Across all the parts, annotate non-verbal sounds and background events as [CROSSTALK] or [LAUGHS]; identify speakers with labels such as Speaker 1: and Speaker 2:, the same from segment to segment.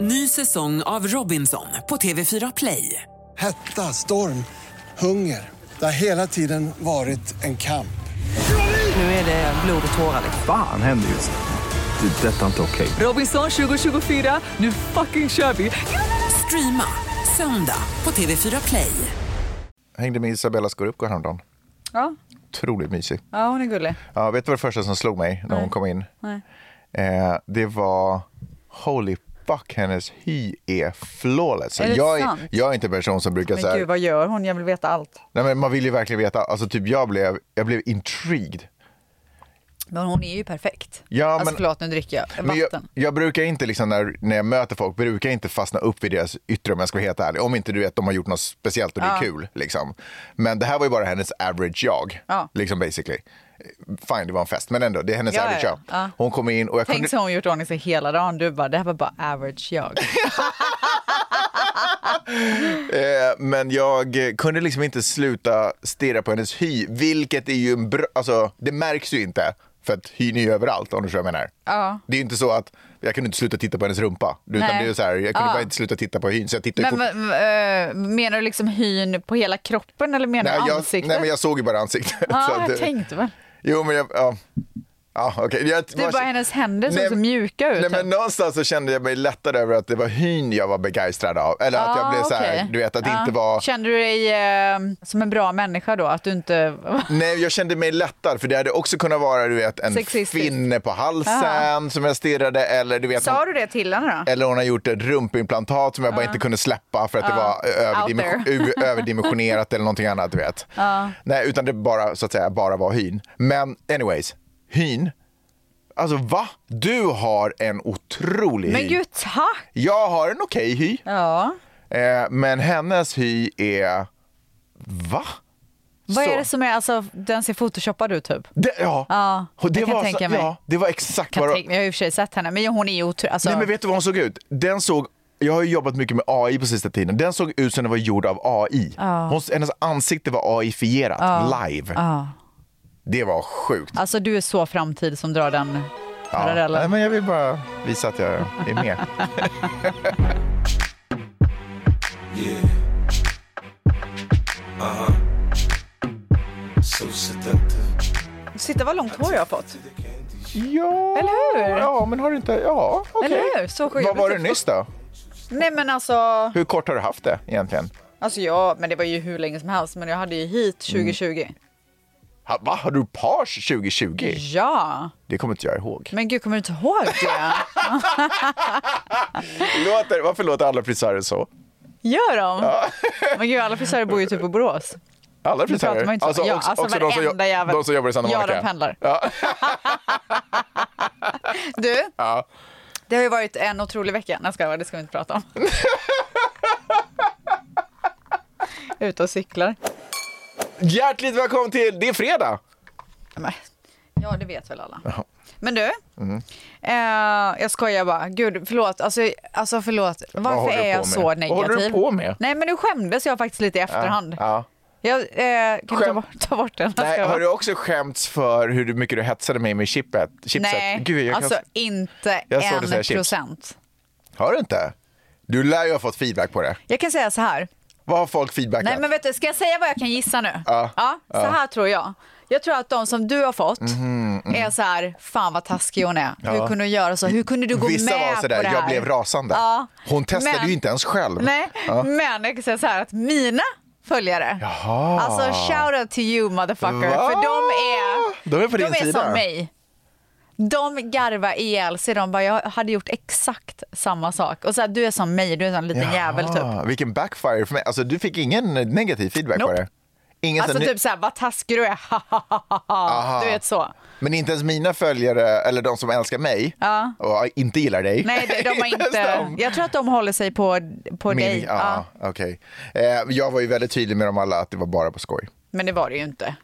Speaker 1: Ny säsong av Robinson på TV4 Play.
Speaker 2: Hetta, storm, hunger. Det har hela tiden varit en kamp.
Speaker 1: Nu är det blod och tårar. liksom.
Speaker 3: Fan händer just nu. Det. är Detta är inte okej.
Speaker 1: Robinson 2024, nu fucking kör vi! Streama söndag på TV4 Play.
Speaker 4: hängde med Isabella Scorupco häromdagen.
Speaker 5: Ja.
Speaker 4: Otroligt mysig.
Speaker 5: ja, hon är gullig.
Speaker 4: Ja, vet du vad det första som slog mig när hon kom in?
Speaker 5: Nej.
Speaker 4: Eh, det var holy fuck, hennes hy är flawless.
Speaker 5: Är det
Speaker 4: jag,
Speaker 5: sant?
Speaker 4: är, jag är inte en person som brukar
Speaker 5: Men
Speaker 4: säga...
Speaker 5: gud, vad gör hon? Jag vill veta allt.
Speaker 4: Nej, men man vill ju verkligen veta. Alltså, typ jag blev, jag blev intrigued.
Speaker 5: Men hon är ju perfekt.
Speaker 4: Ja,
Speaker 5: alltså
Speaker 4: men-
Speaker 5: förlåt, nu dricker jag vatten.
Speaker 4: Men jag, jag brukar inte, liksom, när, när jag möter folk, brukar jag inte fastna upp i deras yttre om jag ska vara helt ärlig. Om inte du vet, de har gjort något speciellt och det är kul. Liksom. Men det här var ju bara hennes average jag.
Speaker 5: Ja.
Speaker 4: Liksom basically. Fine, det var en fest, men ändå, det är hennes
Speaker 5: Ja,
Speaker 4: average
Speaker 5: ja,
Speaker 4: jag.
Speaker 5: ja.
Speaker 4: Hon kom in och jag
Speaker 5: Tänk så har hon gjort ordning sig hela dagen. Du bara, det här var bara average jag.
Speaker 4: Eh, men jag eh, kunde liksom inte sluta stirra på hennes hy, vilket är ju en bra... Alltså, det märks ju inte, för att hyn är ju överallt om du förstår vad jag menar.
Speaker 5: Ja.
Speaker 4: Det är ju inte så att jag kunde inte sluta titta på hennes rumpa. Utan
Speaker 5: Nej.
Speaker 4: det är så här, jag kunde
Speaker 5: Ja.
Speaker 4: bara inte sluta titta på hyn, så jag tittar ju
Speaker 5: men
Speaker 4: fort-
Speaker 5: vad- vad, eh, menar du liksom hyn på hela kroppen eller menar
Speaker 4: Nej,
Speaker 5: du
Speaker 4: jag,
Speaker 5: ansiktet? Ah,
Speaker 4: nej, men jag såg ju bara ansiktet.
Speaker 5: Ja,
Speaker 4: [LAUGHS] så att,
Speaker 5: jag
Speaker 4: eh,
Speaker 5: tänkte väl.
Speaker 4: Jo, men jag... Ja. Ja, okej. Jag-
Speaker 5: Det är bara hennes händer som är så mjuka ut.
Speaker 4: Alltså-
Speaker 5: typ.
Speaker 4: Nej, men någonstans så kände jag mig lättad över att det var hyn jag var begeistrad av. Eller att jag blev så här,
Speaker 5: Ah, okej.
Speaker 4: du vet, att det
Speaker 5: Ja.
Speaker 4: inte var...
Speaker 5: Kände du dig eh, som en bra människa då? Att du inte... [LAUGHS]
Speaker 4: Nej, jag kände mig lättad för det hade också kunnat vara du vet, en
Speaker 5: Sexistiskt. Ah.
Speaker 4: finne på halsen som jag stirrade eller du vet,
Speaker 5: Sa
Speaker 4: hon,
Speaker 5: du det till henne då?
Speaker 4: eller hon har gjort ett rumpimplantat som jag bara inte kunde släppa för att det var överdimension-
Speaker 5: Out there.
Speaker 4: ö- överdimensionerat eller någonting annat. Du vet. Nej, utan det bara, så att säga, bara var hyn. Men anyways, hyn. Alltså va? Du har en otrolig
Speaker 5: Men
Speaker 4: hy.
Speaker 5: gud, tack!
Speaker 4: Jag har en okej hy.
Speaker 5: Ja.
Speaker 4: Eh, men hennes hy är... Va?
Speaker 5: Vad
Speaker 4: Så.
Speaker 5: är det som är, alltså den ser photoshoppad ut typ?
Speaker 4: Det, ja.
Speaker 5: Ja,
Speaker 4: Och det
Speaker 5: jag kan
Speaker 4: var
Speaker 5: tänka
Speaker 4: så,
Speaker 5: mig.
Speaker 4: Ja, det var exakt
Speaker 5: Kan
Speaker 4: vad
Speaker 5: tänka, jag har ju i och för sig sett henne, men hon är ju otrolig. Alltså,
Speaker 4: Nej men vet du vad hon såg ut? Den såg, jag har ju jobbat mycket med AI på sista tiden. Den såg ut som den var gjord av AI. Hon, hennes ansikte var AI-fierat, live. Det var sjukt.
Speaker 5: alltså du är så framtid som drar den
Speaker 4: Ja.
Speaker 5: parallellen.
Speaker 4: Nej, men jag vill bara visa att jag är
Speaker 5: [LAUGHS]
Speaker 4: med.
Speaker 5: Sitta vad långt hår jag har fått.
Speaker 4: ja,
Speaker 5: Eller hur?
Speaker 4: Ja, men har du inte... Ja, okej.
Speaker 5: Eller hur? Så sjukt.
Speaker 4: Vad var det nyss då?
Speaker 5: Nej men alltså,
Speaker 4: Hur kort har du haft det egentligen?
Speaker 5: alltså jag, men det var ju hur länge som helst, men jag hade ju hit
Speaker 4: Mm.
Speaker 5: 2020.
Speaker 4: Ha, va, har du page 2020?
Speaker 5: Ja,
Speaker 4: Det kommer inte jag ihåg.
Speaker 5: men gud kommer du inte
Speaker 4: [LAUGHS]
Speaker 5: ihåg det?
Speaker 4: Låter, varför låter alla frisörer så?
Speaker 5: Gör de? Men gud alla frisörer bor ju typ på Borås.
Speaker 4: Alla
Speaker 5: Nu pratar man
Speaker 4: frisörer?
Speaker 5: inte så. Ja,
Speaker 4: också,
Speaker 5: alltså
Speaker 4: också de, som,
Speaker 5: varenda
Speaker 4: jo-
Speaker 5: jävel.
Speaker 4: de som jobbar i Santa
Speaker 5: Ja,
Speaker 4: Monica?
Speaker 5: de pendlar.
Speaker 4: Ja.
Speaker 5: [LAUGHS] Du,
Speaker 4: Ja.
Speaker 5: det har ju varit en otrolig vecka. Nej, jag skojar, det ska vi inte
Speaker 4: [LAUGHS]
Speaker 5: prata om. Ute och cyklar.
Speaker 4: Hjärtligt välkommen till Det är fredag!
Speaker 5: Men, Ja, det vet väl alla. Men du,
Speaker 4: Mm.
Speaker 5: eh, jag skojar bara. Gud, förlåt. Alltså, alltså förlåt. Varför
Speaker 4: håller du
Speaker 5: är
Speaker 4: på
Speaker 5: jag
Speaker 4: med?
Speaker 5: så
Speaker 4: Vad
Speaker 5: negativ?
Speaker 4: håller du på med?
Speaker 5: Nej, men nu skämdes jag faktiskt lite i efterhand.
Speaker 4: Ja.
Speaker 5: Jag eh, kan du ta
Speaker 4: Skäm-
Speaker 5: bort, ta bort den. Jag
Speaker 4: Nej,
Speaker 5: skojar
Speaker 4: har
Speaker 5: bara.
Speaker 4: du också skämts för hur mycket du hetsade mig med chipet? chipset?
Speaker 5: Nej,
Speaker 4: Gud, jag kan...
Speaker 5: alltså inte
Speaker 4: Jag såg det säga
Speaker 5: en
Speaker 4: chips.
Speaker 5: procent.
Speaker 4: Har du inte? Du lär ju ha fått feedback på det.
Speaker 5: Jag kan säga så här.
Speaker 4: Vad har folk feedbackat?
Speaker 5: Nej, men vet du, ska jag säga vad jag kan gissa nu?
Speaker 4: Ja. Mhm,
Speaker 5: så här tror jag. Jag tror att de som du har fått är så här, fan vad taskig hon är. Hur kunde hon göra så? Hur kunde du gå
Speaker 4: Vissa
Speaker 5: med
Speaker 4: var sådär,
Speaker 5: på det här?
Speaker 4: jag blev rasande.
Speaker 5: Ja.
Speaker 4: Hon testade
Speaker 5: Men-
Speaker 4: ju inte ens själv.
Speaker 5: Nej,
Speaker 4: Ja.
Speaker 5: men jag kan säga så här att mina följare,
Speaker 4: Jaha.
Speaker 5: alltså shout out to you motherfucker,
Speaker 4: Va?
Speaker 5: för de är,
Speaker 4: De är på din sida.
Speaker 5: som mig. De garvar ihjäl sig. De bara, jag hade gjort exakt samma sak. Och så här, du är som mig, du är en sån liten jävel typ.
Speaker 4: Jaha, Vilken backfire för mig. Alltså, du fick ingen negativ feedback på
Speaker 5: Nope.
Speaker 4: det? Ingen
Speaker 5: Alltså
Speaker 4: sån-
Speaker 5: typ såhär, vad taskig du är, [LAUGHS] du vet så.
Speaker 4: Men inte ens mina följare, eller de som älskar mig
Speaker 5: Ja.
Speaker 4: och inte gillar dig.
Speaker 5: Nej,
Speaker 4: [LAUGHS]
Speaker 5: de, de har
Speaker 4: ens
Speaker 5: inte...
Speaker 4: de.
Speaker 5: Jag tror att de håller sig på, på dig.
Speaker 4: Min, ja,
Speaker 5: Ja.
Speaker 4: okej. eh, jag var ju väldigt tydlig med dem alla att det var bara på skoj.
Speaker 5: Men det var det ju inte.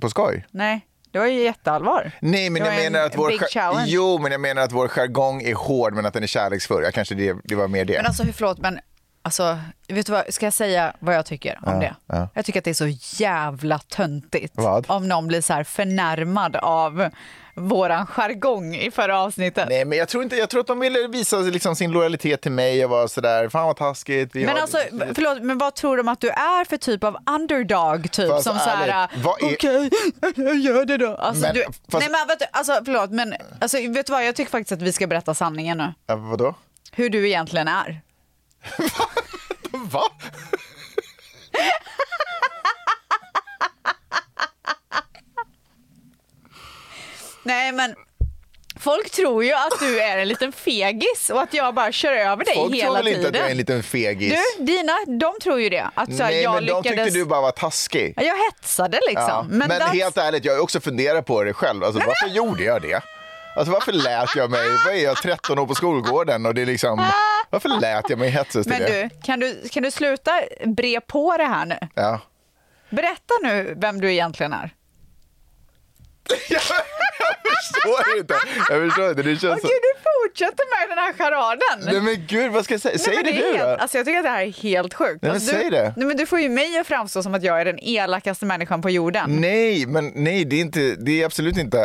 Speaker 4: På skoj?
Speaker 5: Nej, det var ju jätteallvar.
Speaker 4: Nej, men
Speaker 5: det
Speaker 4: jag
Speaker 5: var en
Speaker 4: menar, att vår
Speaker 5: big
Speaker 4: jar-
Speaker 5: challenge.
Speaker 4: jo, men jag menar att vår jargong är hård men att den är kärleksfull. Jag kanske det, det var mer det.
Speaker 5: Men alltså, hur- förlåt, men Alltså, vet du vad, ska jag säga vad jag tycker om det?
Speaker 4: ja.
Speaker 5: Jag tycker att det är så jävla töntigt
Speaker 4: Vad?
Speaker 5: om någon blir så här förnärmad av våran jargong i förra avsnittet.
Speaker 4: Nej, men jag tror, inte, jag tror att de ville visa liksom sin lojalitet till mig och vara sådär, fan vad taskigt. Vi
Speaker 5: Men
Speaker 4: har-
Speaker 5: alltså, förlåt, men vad tror de att du är för typ av underdog typ
Speaker 4: Fast
Speaker 5: som så här,
Speaker 4: ärligt, vad är-
Speaker 5: okej, jag gör det då. Alltså,
Speaker 4: Men,
Speaker 5: du,
Speaker 4: fast-
Speaker 5: nej men vet du, alltså, förlåt, men alltså, vet du vad, jag tycker faktiskt att vi ska berätta sanningen nu.
Speaker 4: Ja,
Speaker 5: [LAUGHS]
Speaker 4: vadå?
Speaker 5: Hur du egentligen är.
Speaker 4: Va?
Speaker 5: Nej men, folk tror ju att du är en liten fegis och att jag bara kör över dig
Speaker 4: Folk tror
Speaker 5: hela
Speaker 4: väl inte
Speaker 5: tiden.
Speaker 4: att jag är en liten fegis?
Speaker 5: Du, dina, de tror ju det. Att så här,
Speaker 4: Nej,
Speaker 5: jag
Speaker 4: men de
Speaker 5: lyckades...
Speaker 4: tyckte du bara var taskig.
Speaker 5: Ja, Jag hetsade liksom.
Speaker 4: Ja.
Speaker 5: Men,
Speaker 4: Men,
Speaker 5: that's-
Speaker 4: helt ärligt, jag har ju också funderat på det själv. Alltså, varför
Speaker 5: [LAUGHS]
Speaker 4: gjorde jag det? Alltså, varför lät jag mig? Vad är jag, 13 år på skolgården? Och det är liksom,
Speaker 5: [LAUGHS]
Speaker 4: varför lät jag mig hetsas till
Speaker 5: men
Speaker 4: det?
Speaker 5: du kan, du, kan du sluta bre på det här nu?
Speaker 4: Ja.
Speaker 5: Berätta nu vem du egentligen är.
Speaker 4: jag förstår inte. Jag förstår inte. Det
Speaker 5: Åh
Speaker 4: känns så...
Speaker 5: gud, du fortsätter med den här charaden.
Speaker 4: Alltså- Nej men gud, vad ska jag säga? Säg
Speaker 5: men
Speaker 4: det,
Speaker 5: är
Speaker 4: du
Speaker 5: helt,
Speaker 4: då.
Speaker 5: Alltså jag tycker att det här är helt sjukt.
Speaker 4: Nej, men
Speaker 5: alltså,
Speaker 4: säg
Speaker 5: du,
Speaker 4: det.
Speaker 5: Nej, men du får ju mig att framstå som att jag är den elakaste människan på jorden.
Speaker 4: Nej, men nej, det är, inte, det är absolut inte...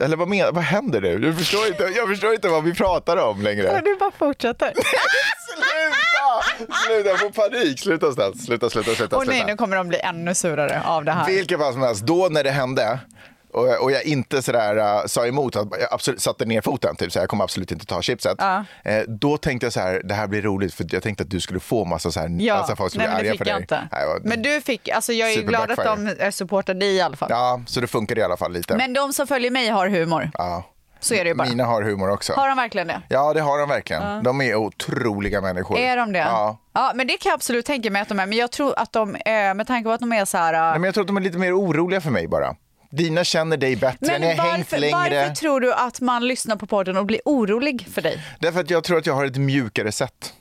Speaker 4: Eller vad, men, vad händer nu? Jag förstår, inte, jag förstår inte vad vi pratar om längre.
Speaker 5: Men du bara fortsätter.
Speaker 4: Sluta! Sluta, jag får panik. Sluta snabbt. Sluta, sluta, sluta.
Speaker 5: Och nej,
Speaker 4: sluta.
Speaker 5: nu kommer de bli ännu surare av det här.
Speaker 4: Vilket fall som helst, då när det hände och jag, och jag inte sådär, äh, sa emot, att jag absolut, satte ner foten, typ, så jag kommer absolut inte ta chipset. Eh, då tänkte jag så här, det här blir roligt för jag tänkte att du skulle få massa så här,
Speaker 5: Ja,
Speaker 4: alltså, folk skulle
Speaker 5: nej, men
Speaker 4: bli
Speaker 5: det
Speaker 4: arga för
Speaker 5: fick jag
Speaker 4: dig.
Speaker 5: inte.
Speaker 4: Nej, vad-
Speaker 5: men du fick, alltså jag är ju glad att de
Speaker 4: Superbackfire.
Speaker 5: eh, supportar dig i alla fall.
Speaker 4: Ja, så det funkar i alla fall lite.
Speaker 5: Men de som följer mig har humor.
Speaker 4: ja.
Speaker 5: Så är det ju bara.
Speaker 4: Mina har humor också.
Speaker 5: Har de verkligen det?
Speaker 4: Ja, det har de verkligen. De är otroliga människor.
Speaker 5: Är de det?
Speaker 4: Ja.
Speaker 5: ja. Men det kan jag absolut tänka mig att de är. Men jag tror att de, eh, med tanke på att de är så här... eh,
Speaker 4: Nej, men jag tror att de är lite mer oroliga för mig bara. Dina känner dig bättre, ni har hängt
Speaker 5: varför,
Speaker 4: längre.
Speaker 5: varför tror du att man lyssnar på podden och blir orolig för dig?
Speaker 4: Därför att jag tror att jag har ett mjukare sätt.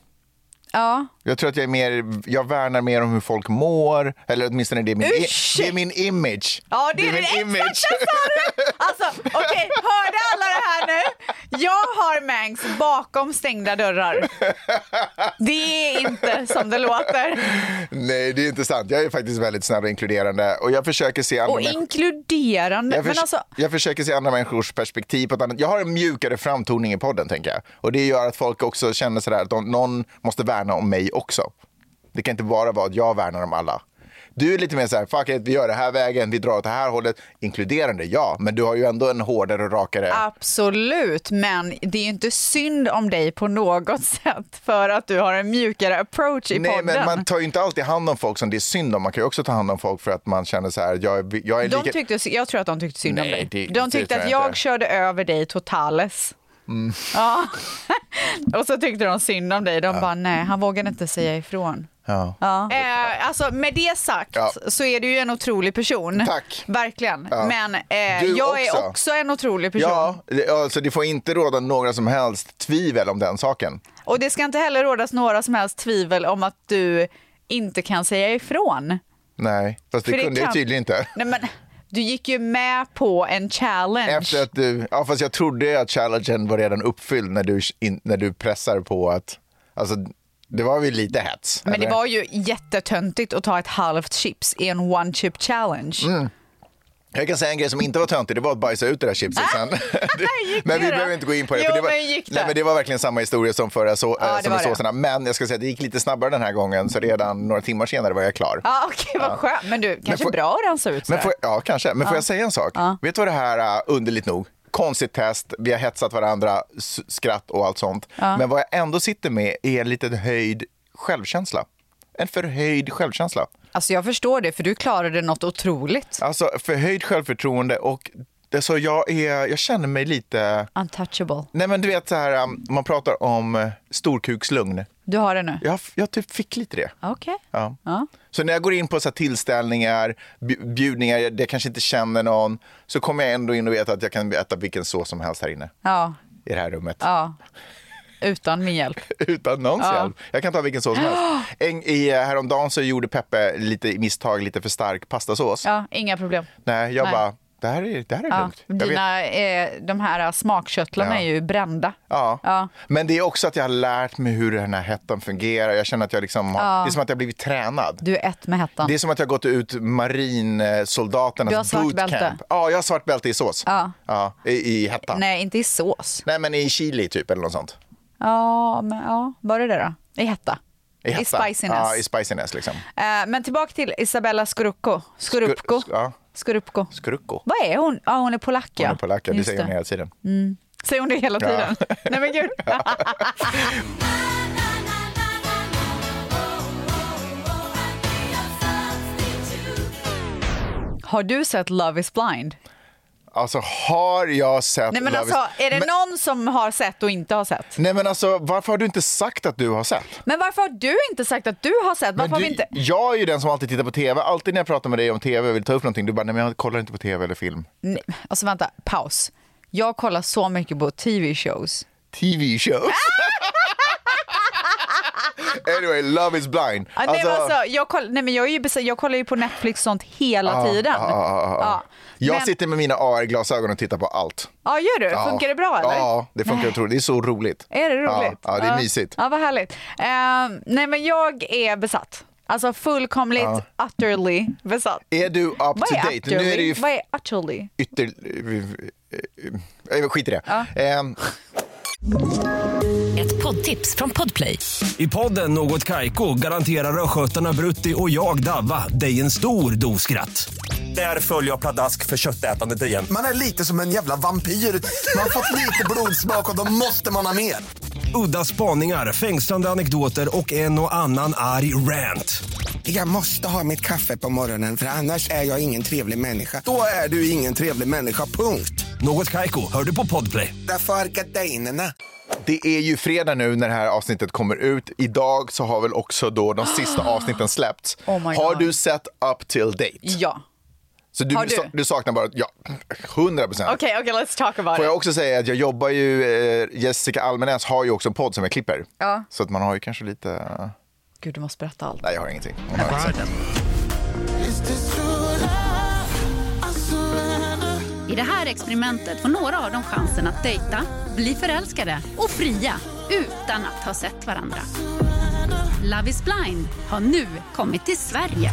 Speaker 5: Ja.
Speaker 4: Jag tror att jag är mer, jag värnar mer om hur folk mår, eller åtminstone det är min, i,
Speaker 5: Ursäkta!
Speaker 4: det är min image.
Speaker 5: Ja, det är,
Speaker 4: min
Speaker 5: din exakta
Speaker 4: [LAUGHS]
Speaker 5: sanning! Alltså, okej, hörde alla det här nu? Jag har Mangs bakom stängda dörrar. Det är inte som det låter.
Speaker 4: Nej, det är inte sant. Jag är faktiskt väldigt snäll och inkluderande och jag försöker se andra
Speaker 5: Och
Speaker 4: människor-
Speaker 5: inkluderande.
Speaker 4: Jag,
Speaker 5: men
Speaker 4: förs-
Speaker 5: alltså,
Speaker 4: jag försöker se andra människors perspektiv på ett annat Jag har en mjukare framtoning i podden, tänker jag. Och det gör att folk också känner sådär att de, någon måste värna om mig också. Det kan inte bara vara att jag värnar om alla. Du är lite mer såhär, fuck it, vi gör det här vägen, vi drar åt det här hållet. Inkluderande, ja, men du har ju ändå en hårdare och rakare...
Speaker 5: Absolut, men det är ju inte synd om dig på något [LAUGHS] sätt för att du har en mjukare approach i
Speaker 4: Nej,
Speaker 5: podden.
Speaker 4: men man tar ju inte alltid hand om folk som det är synd om. Man kan ju också ta hand om folk för att man känner så här, jag, är- jag är
Speaker 5: de
Speaker 4: lika...
Speaker 5: tyckte, jag tror att de tyckte synd
Speaker 4: Nej,
Speaker 5: om dig.
Speaker 4: det-
Speaker 5: De
Speaker 4: det
Speaker 5: tyckte
Speaker 4: tror jag
Speaker 5: att jag
Speaker 4: inte. Mm.
Speaker 5: körde över dig totales. Ja. [LAUGHS] Och så tyckte de synd om dig. De bara, nej, han vågade inte säga ifrån.
Speaker 4: Ja.
Speaker 5: Eh, alltså med det sagt
Speaker 4: Ja.
Speaker 5: så är du ju en otrolig person.
Speaker 4: Tack.
Speaker 5: Verkligen.
Speaker 4: Ja.
Speaker 5: Men eh,
Speaker 4: Du
Speaker 5: jag
Speaker 4: också.
Speaker 5: är också en otrolig person.
Speaker 4: Ja, det- alltså det får inte råda några som helst tvivel om den saken.
Speaker 5: Och det ska inte heller rådas några som helst tvivel om att du inte kan säga ifrån.
Speaker 4: Nej, fast det,
Speaker 5: För det
Speaker 4: kunde
Speaker 5: kan-
Speaker 4: jag tydligen inte.
Speaker 5: Nej, men, du gick ju med på en challenge.
Speaker 4: Efter att du, ja, fast jag trodde att challengen var redan uppfylld när du, in, när du pressar på att, alltså det var väl lite hets?
Speaker 5: Men det
Speaker 4: eller?
Speaker 5: var ju jättetöntigt att ta ett halvt chips i en one chip challenge.
Speaker 4: Mm. Jag kan säga en grej som inte var töntig, det var att bajsa ut det där chipset sen.
Speaker 5: Ah! [LAUGHS] gick
Speaker 4: men vi
Speaker 5: det då?
Speaker 4: behöver inte gå in på det.
Speaker 5: Jo,
Speaker 4: det, var,
Speaker 5: men gick det?
Speaker 4: Nej, men det var verkligen samma historia som förra så,
Speaker 5: Ja,
Speaker 4: eh,
Speaker 5: det
Speaker 4: som
Speaker 5: var
Speaker 4: i
Speaker 5: det.
Speaker 4: såserna. Men jag ska säga att det gick lite snabbare den här gången, så redan några timmar senare var jag klar.
Speaker 5: Ja, okej, vad skönt. Men du, kanske
Speaker 4: får-
Speaker 5: bra att rensa ut
Speaker 4: men
Speaker 5: sådär.
Speaker 4: får, ja, kanske. Men får jag säga en sak? Vet du vad det här, eh, underligt nog, konstigt test, vi har hetsat varandra, s- skratt och allt sånt. Men vad jag ändå sitter med är en liten höjd självkänsla. En förhöjd självkänsla.
Speaker 5: Alltså jag förstår det, för du klarade något otroligt.
Speaker 4: Alltså förhöjd självförtroende och alltså, jag, är, jag känner mig lite...
Speaker 5: Untouchable.
Speaker 4: Nej men du vet så här, um, man pratar om eh, storkukslugn.
Speaker 5: Du har det nu?
Speaker 4: Jag, f- jag typ fick lite det.
Speaker 5: Okej.
Speaker 4: Ja.
Speaker 5: Ja.
Speaker 4: Så när jag går in på så här tillställningar, bj- bjudningar där jag kanske inte känner någon, så kommer jag ändå in och vet att jag kan äta vilken sås som helst här inne
Speaker 5: Ja.
Speaker 4: i det här rummet.
Speaker 5: ja. Utan min hjälp.
Speaker 4: [LAUGHS] Utan någons
Speaker 5: Ja.
Speaker 4: hjälp. Jag kan ta vilken sås som
Speaker 5: [GASPS]
Speaker 4: helst. En, i, eh, häromdagen så gjorde Peppe lite misstag, lite för stark pastasås.
Speaker 5: Ja, inga problem.
Speaker 4: Nej, jag
Speaker 5: Nej.
Speaker 4: bara, Det här är, det här är
Speaker 5: Ja,
Speaker 4: lugnt. Jag vet-
Speaker 5: dina, eh, de här smakköttlarna
Speaker 4: Ja.
Speaker 5: är ju brända.
Speaker 4: Ja.
Speaker 5: Ja.
Speaker 4: men det är också att jag har lärt mig hur den här hettan fungerar. Jag känner att jag liksom har, Det är som att jag har blivit tränad.
Speaker 5: Du är ett med hettan.
Speaker 4: Det är som att jag har gått ut marinsoldaternas
Speaker 5: Du har svart
Speaker 4: bootcamp.
Speaker 5: bälte.
Speaker 4: Ja, jag har svart bälte i sås.
Speaker 5: Ja.
Speaker 4: i, I hetta. Nej.
Speaker 5: Nej, inte i sås.
Speaker 4: men i chili typ eller något sånt.
Speaker 5: Ja, men, ja, var det det då? I hetta.
Speaker 4: I, hetta.
Speaker 5: spiciness.
Speaker 4: Ja, i spiciness liksom.
Speaker 5: Eh, men tillbaka till Isabella Skorupko. Skorupko.
Speaker 4: Skur- ja.
Speaker 5: Skorupko.
Speaker 4: Skrucko.
Speaker 5: Vad är hon? Ja, hon är polack.
Speaker 4: Hon
Speaker 5: ja.
Speaker 4: är polack, ja, det
Speaker 5: Just Mm.
Speaker 4: säger hon hela tiden.
Speaker 5: Säger hon det
Speaker 4: [LAUGHS]
Speaker 5: hela tiden? Nej men gud. Har du sett Love is blind?
Speaker 4: Alltså har jag sett...
Speaker 5: Nej men
Speaker 4: Love
Speaker 5: alltså,
Speaker 4: is-
Speaker 5: är det
Speaker 4: Men-
Speaker 5: någon som har sett och inte har sett?
Speaker 4: Nej men alltså, varför har du inte sagt att du har sett?
Speaker 5: Men varför har du inte sagt att du har sett? Varför
Speaker 4: Men
Speaker 5: har
Speaker 4: du,
Speaker 5: vi inte...
Speaker 4: Jag är ju den som alltid tittar på tv. Alltid när jag pratar med dig om tv och vill ta upp någonting, du bara nej men jag kollar inte på tv eller film.
Speaker 5: Nej, alltså vänta, paus. Jag kollar så mycket på tv-shows. [LAUGHS]
Speaker 4: TV-shows. anyway, Love is blind.
Speaker 5: Ja, nej, men alltså, jag, koll, nej, men jag, är ju, besä- jag kollar ju på Netflix och sånt hela
Speaker 4: ja,
Speaker 5: tiden.
Speaker 4: ja, ja, ja.
Speaker 5: Ja.
Speaker 4: Jag
Speaker 5: Men-
Speaker 4: sitter med mina AR-glasögon och tittar på allt.
Speaker 5: Ja, gör du?
Speaker 4: Ja.
Speaker 5: Funkar det bra eller?
Speaker 4: Ja, det funkar otroligt. Det är så roligt.
Speaker 5: [LAUGHS] Är det roligt?
Speaker 4: Ja, ja det är mysigt.
Speaker 5: Ja, vad härligt. Eh, nej, men jag är besatt. Alltså fullkomligt, utterly besatt.
Speaker 4: Är du up
Speaker 5: Vad
Speaker 4: to
Speaker 5: är
Speaker 4: date?
Speaker 5: utterly?
Speaker 4: Nu är det ju
Speaker 5: Vad är utterly?
Speaker 4: ytter... Eh, Skit i det. Ehm,
Speaker 6: Ett poddtips från Podplay.
Speaker 7: I podden Något Kaiko garanterar östgötarna Brutti och jag, Davva, dig en stor dos skratt. Där följer jag pladask för köttätandet igen.
Speaker 8: Man är lite som en jävla vampyr. Man har fått lite blodsmak och då måste man ha mer.
Speaker 7: Udda spaningar, fängslande anekdoter och en och annan arg rant.
Speaker 9: Jag måste ha mitt kaffe på morgonen för annars är jag ingen trevlig människa.
Speaker 8: Då är du ingen trevlig människa, punkt.
Speaker 7: Något Kaiko, hör du på Podplay.
Speaker 8: Därför är gardinerna.
Speaker 4: Det är ju fredag nu när det här avsnittet kommer ut. Idag så har väl också då de sista avsnitten släppts.
Speaker 5: Ah. Oh my
Speaker 4: har
Speaker 5: God.
Speaker 4: du sett Up till date?
Speaker 5: Ja.
Speaker 4: Så du,
Speaker 5: Har du?
Speaker 4: sa- saknar bara, ja, 100 procent.
Speaker 5: Okej, okej, let's talk about
Speaker 4: Får
Speaker 5: it.
Speaker 4: jag också säga att jag jobbar ju, eh, Jessica Almenäs har ju också en podd som jag klipper.
Speaker 5: Ja.
Speaker 4: Så att man har ju kanske lite,
Speaker 5: Gud, du måste berätta allt.
Speaker 4: nej jag har ingenting. Hon har inte sett.
Speaker 10: I det här experimentet får några av dem chansen att dejta, bli förälskade och fria utan att ha sett varandra. Love is blind har nu kommit till Sverige.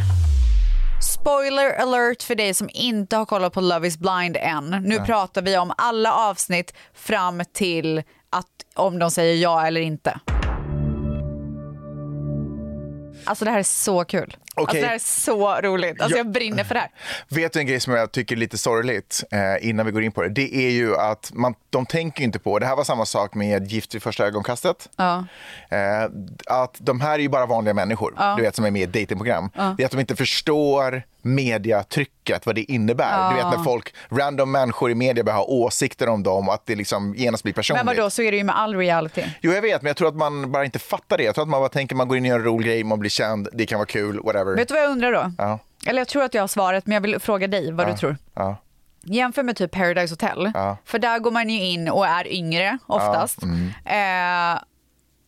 Speaker 5: Spoiler alert för dig som inte har kollat på Love is blind än. Nu pratar vi om alla avsnitt fram till att om de säger ja eller inte. Alltså det här är så kul. Alltså
Speaker 4: Okej.
Speaker 5: det här är så roligt. Alltså
Speaker 4: Ja.
Speaker 5: jag brinner för det här.
Speaker 4: Vet du en grej som jag tycker är lite sorgligt eh, innan vi går in på det? Det är ju att man, de tänker ju inte på, det här var samma sak med Gift vid första ögonkastet.
Speaker 5: Ja.
Speaker 4: Eh, att de här är ju bara vanliga människor, du vet som är med i ett datingprogram. Det är att de inte förstår mediatrycket, vad det innebär. Du vet när folk, random människor i media börjar ha åsikter om dem och att det liksom genast blir personligt.
Speaker 5: Men vadå, så är det ju med all reality.
Speaker 4: Jo jag vet, men jag tror att man bara inte fattar det. Jag tror att man bara tänker man går in och gör en rolig grej, man blir känd, det kan vara kul, whatever.
Speaker 5: Vet du vad jag undrar då?
Speaker 4: Ja.
Speaker 5: Eller jag tror att jag har svaret, men jag vill fråga dig vad du tror.
Speaker 4: Ja.
Speaker 5: Jämför med typ Paradise Hotel, för där går man ju in och är yngre oftast.
Speaker 4: Mm.
Speaker 5: Eh,